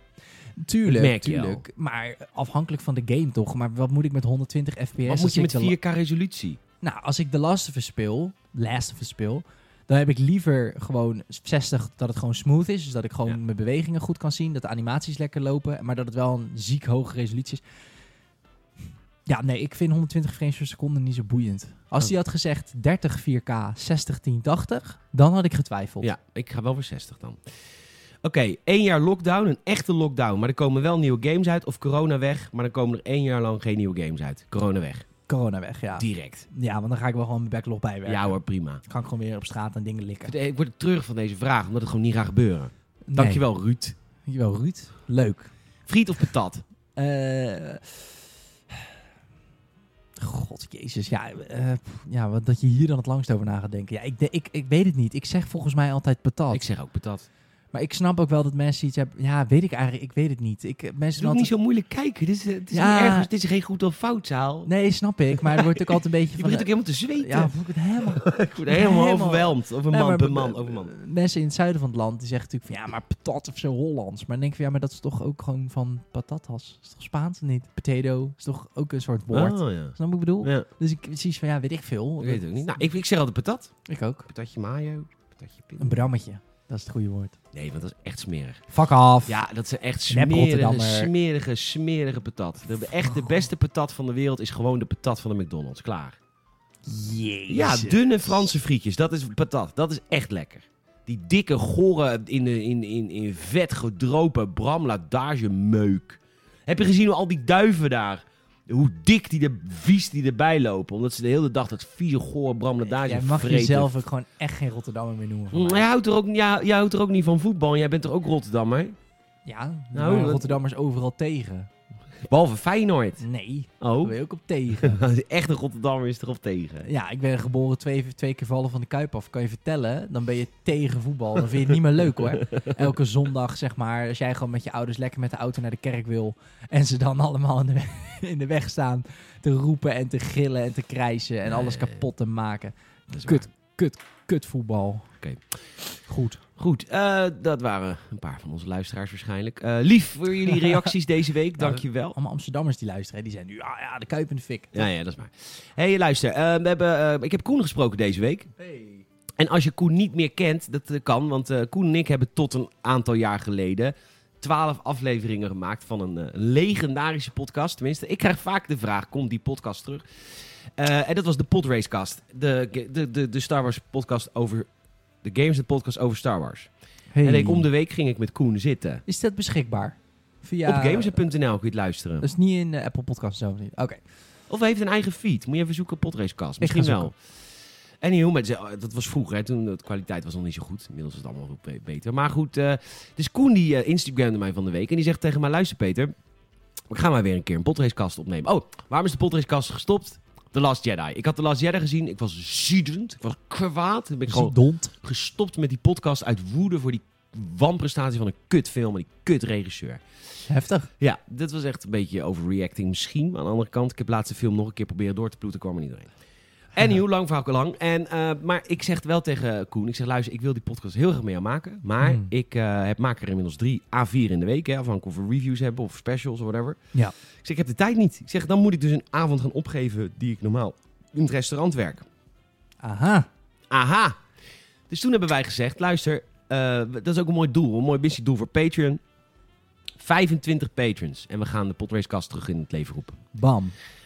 Speaker 2: Tuurlijk,
Speaker 1: merk je
Speaker 2: tuurlijk. Maar afhankelijk van de game toch. Maar wat moet ik met 120 fps?
Speaker 1: Wat moet
Speaker 2: Als
Speaker 1: je
Speaker 2: ik
Speaker 1: met
Speaker 2: de la-
Speaker 1: 4K resolutie?
Speaker 2: Nou, als ik The Last of Us speel, Last of Us speel, dan heb ik liever gewoon 60 dat het gewoon smooth is. Dus dat ik gewoon
Speaker 1: Ja.
Speaker 2: mijn bewegingen goed kan zien, dat de animaties lekker lopen, maar dat het wel een ziek hoge resolutie is. Ja, nee, ik vind 120 frames per seconde niet zo boeiend. Als
Speaker 1: Oh.
Speaker 2: hij had gezegd 30 4K, 60 1080, dan had ik getwijfeld.
Speaker 1: Ja, ik ga wel voor 60 dan. Oké, één jaar lockdown, een echte lockdown. Maar er komen wel nieuwe games uit. Of corona weg, maar er komen er één jaar lang geen nieuwe games uit. Corona weg,
Speaker 2: Corona weg, ja.
Speaker 1: direct.
Speaker 2: Ja, want dan ga ik wel gewoon mijn backlog bijwerken.
Speaker 1: Ja hoor, prima.
Speaker 2: Dan kan ik gewoon weer op straat en dingen likken.
Speaker 1: Ik word terug van deze vraag, omdat het gewoon niet gaat gebeuren. Dankjewel, Ruud.
Speaker 2: Nee. Dankjewel, Ruud. Leuk.
Speaker 1: Friet of patat?
Speaker 2: Eh, God, jezus. Ja, eh, pff, ja wat, dat je hier dan het langst over na gaat denken. Ja, ik, de- ik, ik weet het niet. Ik zeg volgens mij altijd patat.
Speaker 1: Ik zeg ook patat.
Speaker 2: maar Maar ik snap ook wel dat mensen iets hebben. Ja, weet ik eigenlijk. Ik weet het niet. Ik, eh, mensen
Speaker 1: Het doet niet
Speaker 2: doen altijd-
Speaker 1: zo moeilijk kijken. Dit is, het is
Speaker 2: Ja.
Speaker 1: niet ergens, dit is geen goed of fout zaal.
Speaker 2: Nee, snap ik. Maar er wordt ook altijd een beetje
Speaker 1: Je
Speaker 2: van.
Speaker 1: begint ook helemaal te zweten.
Speaker 2: ja, voel ik het helemaal.
Speaker 1: ik word helemaal,
Speaker 2: helemaal-
Speaker 1: overweldigd. Over man,
Speaker 2: Nee, maar
Speaker 1: per
Speaker 2: b-
Speaker 1: man,
Speaker 2: b-
Speaker 1: over man.
Speaker 2: Mensen in het zuiden van het land die zeggen natuurlijk van ja, maar patat of zo Hollands. Maar dan denk ik van ja, maar dat is toch ook gewoon van patatas. Is toch Spaans of niet? Potato is toch ook een soort woord.
Speaker 1: Oh, ja.
Speaker 2: Snap je wat ik bedoel?
Speaker 1: Ja,
Speaker 2: Dus ik precies van ja, weet ik veel.
Speaker 1: ik weet het ook niet. Nou, ik, ik zeg altijd patat.
Speaker 2: Ik ook.
Speaker 1: Patatje mayo, patatje
Speaker 2: Een
Speaker 1: pin.
Speaker 2: brammetje. Dat is het goede woord.
Speaker 1: Nee, want dat is echt smerig.
Speaker 2: Fuck off.
Speaker 1: Ja, dat zijn echt
Speaker 2: Nep
Speaker 1: smerige,
Speaker 2: Rotterdammer.
Speaker 1: smerige, smerige patat. De, echt
Speaker 2: Oh.
Speaker 1: de beste patat van de wereld is gewoon de patat van de McDonald's. Klaar.
Speaker 2: Jezus.
Speaker 1: Ja, dunne Franse frietjes. Dat is patat. Dat is echt lekker. Die dikke, gore, in, de- in, in, in vet gedropen bramladage meuk. Heb je gezien hoe al die duiven daar... Hoe dik die de vies die erbij lopen. Omdat ze de hele dag dat vieze, gore bramladage
Speaker 2: Jij mag
Speaker 1: vreten.
Speaker 2: jezelf ook gewoon echt geen Rotterdammer meer noemen. van
Speaker 1: Mm,
Speaker 2: mij.
Speaker 1: Jij houdt, er ook, jij, jij houdt er ook niet van voetbal. en Jij bent er ook Rotterdammer.
Speaker 2: Ja,
Speaker 1: Nou,
Speaker 2: nou,
Speaker 1: dat-
Speaker 2: Rotterdammers overal tegen.
Speaker 1: Behalve Feyenoord.
Speaker 2: Nee, daar
Speaker 1: Oh.
Speaker 2: ben je ook op tegen.
Speaker 1: Echt een Rotterdammer is erop tegen.
Speaker 2: Ja, ik ben geboren twee, twee keer vallen van de Kuip af. Kan je vertellen, dan ben je tegen voetbal. Dan vind je het niet meer leuk hoor. Elke zondag, zeg maar, als jij gewoon met je ouders lekker met de auto naar de kerk wil. En ze dan allemaal in de, we- in de weg staan te roepen en te gillen en te krijsen. En alles
Speaker 1: Nee.
Speaker 2: kapot te maken.
Speaker 1: Dat is
Speaker 2: Kut, kut, kut voetbal.
Speaker 1: Oké.
Speaker 2: Goed.
Speaker 1: Goed, eh, dat waren een paar van onze luisteraars waarschijnlijk. Eh, lief voor jullie reacties deze week,
Speaker 2: Nou,
Speaker 1: dankjewel.
Speaker 2: Allemaal Amsterdammers die luisteren, hè, die zijn nu, ja, ja, de Kuip in de fik.
Speaker 1: Ja, ja, dat is maar. hey, luister, eh, we hebben, eh, ik heb Koen gesproken deze week. En als je Koen niet meer kent, dat eh, kan, want eh, Koen en ik hebben tot een aantal jaar geleden twaalf afleveringen gemaakt van een eh, legendarische podcast. Tenminste, ik krijg vaak de vraag, komt die podcast terug? Eh, en dat was de Podracecast, de, de, de, de Star Wars podcast over... De games, de podcast over Star Wars.
Speaker 2: Hey.
Speaker 1: En ik, om de week ging ik met Koen zitten.
Speaker 2: Is dat beschikbaar? Via...
Speaker 1: Op games.nl kun je het luisteren.
Speaker 2: Dat is niet in de Apple Podcast zo. Oké.
Speaker 1: Of hij heeft een eigen feed. Moet je even zoeken op Podracecast.
Speaker 2: Ik
Speaker 1: Misschien
Speaker 2: ga
Speaker 1: wel. Anywho, maar het is- dat was vroeger. Hè, toen de kwaliteit was nog niet zo goed. Inmiddels is het allemaal goed, be- beter. Maar goed, eh, dus Koen die eh, Instagramde mij van de week. En die zegt tegen mij, luister Peter. We gaan maar weer een keer een Podracecast opnemen. Oh, waarom is de Podracecast gestopt? The Last Jedi. Ik had The Last Jedi gezien. Ik was ziedend. Ik was kwaad. Ik ben gewoon
Speaker 2: dond.
Speaker 1: gestopt met die podcast uit woede voor die wanprestatie van een kutfilm en die kutregisseur.
Speaker 2: Heftig.
Speaker 1: Ja, dit was echt een beetje overreacting misschien. Maar aan de andere kant, ik heb laatst de film nog een keer proberen door te ploeten, kwam er niet doorheen. Anywho, lang verhaal kort lang. En, eh, maar ik zeg wel tegen Koen, ik zeg luister, ik wil die podcast heel graag mee aan maken. Maar
Speaker 2: Mm.
Speaker 1: ik eh, heb, maak er inmiddels drie A4 in de week. Hè, afhankelijk of we reviews hebben of specials of whatever.
Speaker 2: Ja.
Speaker 1: Ik zeg, ik heb de tijd niet. Ik zeg, dan moet ik dus een avond gaan opgeven die ik normaal in het restaurant werk.
Speaker 2: Aha.
Speaker 1: Aha. Dus toen hebben wij gezegd, luister, eh, dat is ook een mooi doel, een mooi missie doel voor Patreon. 25 patrons. En we gaan de Potracecast terug in het leven roepen.
Speaker 2: Bam.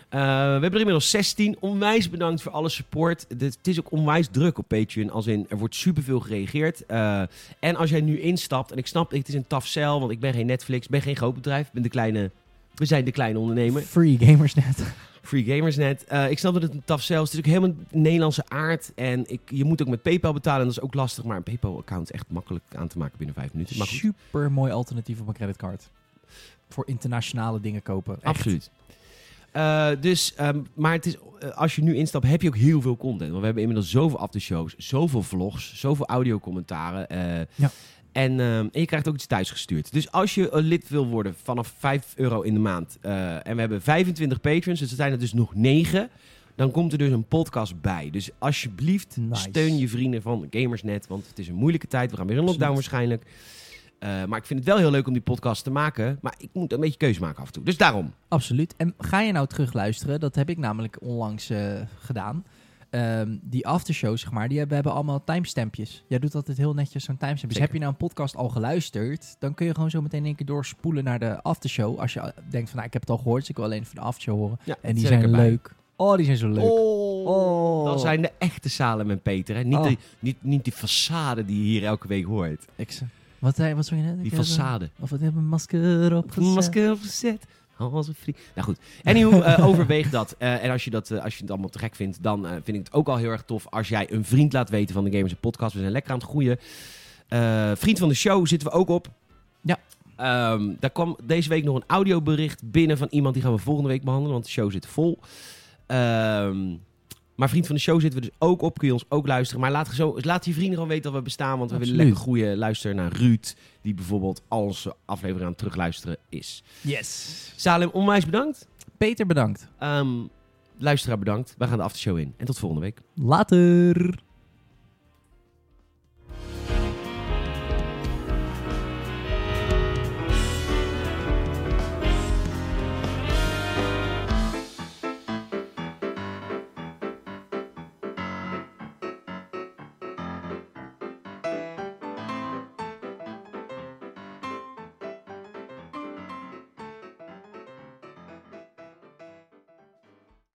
Speaker 1: Eh, we hebben er inmiddels 16. Onwijs bedankt voor alle support. Dit- het is ook onwijs druk op Patreon. Als in, er wordt superveel gereageerd. Eh, en als jij nu instapt, en ik snap, het is een taf cel, want ik ben geen Netflix, ben geen groot bedrijf, ben de kleine, we zijn de kleine ondernemer.
Speaker 2: Free gamers net.
Speaker 1: Free Gamers net. Eh, ik snap dat het een taf zelfs. Het is ook helemaal Nederlandse aard. En ik, je moet ook met PayPal betalen. En dat is ook lastig. Maar een PayPal-account is echt makkelijk aan te maken binnen vijf minuten. Maar goed,
Speaker 2: Super mooi alternatief op mijn creditcard. Voor internationale dingen kopen. Echt.
Speaker 1: absoluut. Eh, dus, ehm, maar het is, eh, als je nu instapt, heb je ook heel veel content. Want we hebben inmiddels zoveel aftershows, zoveel vlogs, zoveel audiocommentaren. eh,
Speaker 2: Ja.
Speaker 1: en, ehm, en je krijgt ook iets thuis gestuurd. Dus als je een lid wil worden vanaf 5 euro in de maand. eh, en we hebben 25 patrons, dus er zijn er dus nog 9. Dan komt er dus een podcast bij. Dus alsjeblieft,
Speaker 2: Nice.
Speaker 1: steun je vrienden van Gamersnet. Want het is een moeilijke tijd. We gaan weer in lockdown
Speaker 2: Absoluut.
Speaker 1: waarschijnlijk. Eh, maar ik vind het wel heel leuk om die podcast te maken. Maar ik moet een beetje keuze maken af en toe. Dus daarom.
Speaker 2: Absoluut. En ga je nou terugluisteren? Dat heb ik namelijk onlangs eh, gedaan. Ehm, die aftershow, zeg maar, die hebben, hebben allemaal timestampjes. Jij doet altijd heel netjes zo'n timestamp. Dus
Speaker 1: Zeker.
Speaker 2: heb je nou een podcast al geluisterd, dan kun je gewoon zo meteen in één keer doorspoelen naar de aftershow. Als je eh, denkt van, nou, ik heb het al gehoord, dus ik wil alleen van de aftershow horen.
Speaker 1: Ja,
Speaker 2: En die
Speaker 1: zet ik
Speaker 2: zijn
Speaker 1: erbij.
Speaker 2: leuk. Oh, die zijn zo leuk.
Speaker 1: Oh.
Speaker 2: Oh.
Speaker 1: Dat zijn de echte Salem en Peter. Hè? Niet,
Speaker 2: Oh.
Speaker 1: die, niet, niet die façade die je hier elke week hoort.
Speaker 2: Ik ze- Wat, zei- wat zei je net?
Speaker 1: Die
Speaker 2: Ik heb een-
Speaker 1: façade.
Speaker 2: Of wat hebben een masker opgezet?
Speaker 1: Masker opgezet. Als een vriend. Nou goed. Anywho, eh, overweeg dat. Eh, en als je, dat, eh, als je het allemaal te gek vindt, dan eh, vind ik het ook al heel erg tof als jij een vriend laat weten van de Gamers en Podcast. We zijn lekker aan het groeien. Eh, vriend van de show zitten we ook op.
Speaker 2: Ja.
Speaker 1: Ehm, daar kwam deze week nog een audiobericht binnen van iemand die gaan we volgende week behandelen, want de show zit vol. Ehm, Maar vriend van de show zitten we dus ook op. Kun je ons ook luisteren. Maar laat, zo, laat je vrienden gewoon weten dat we bestaan. Want we willen
Speaker 2: Absoluut.
Speaker 1: lekker goede luisteren naar Ruud. Die bijvoorbeeld al zijn aflevering aan het terugluisteren is.
Speaker 2: Yes.
Speaker 1: Salem, onwijs bedankt.
Speaker 2: Peter, bedankt.
Speaker 1: Ehm, luisteraar bedankt. Wij gaan de aftershow in. En tot volgende week.
Speaker 2: Later.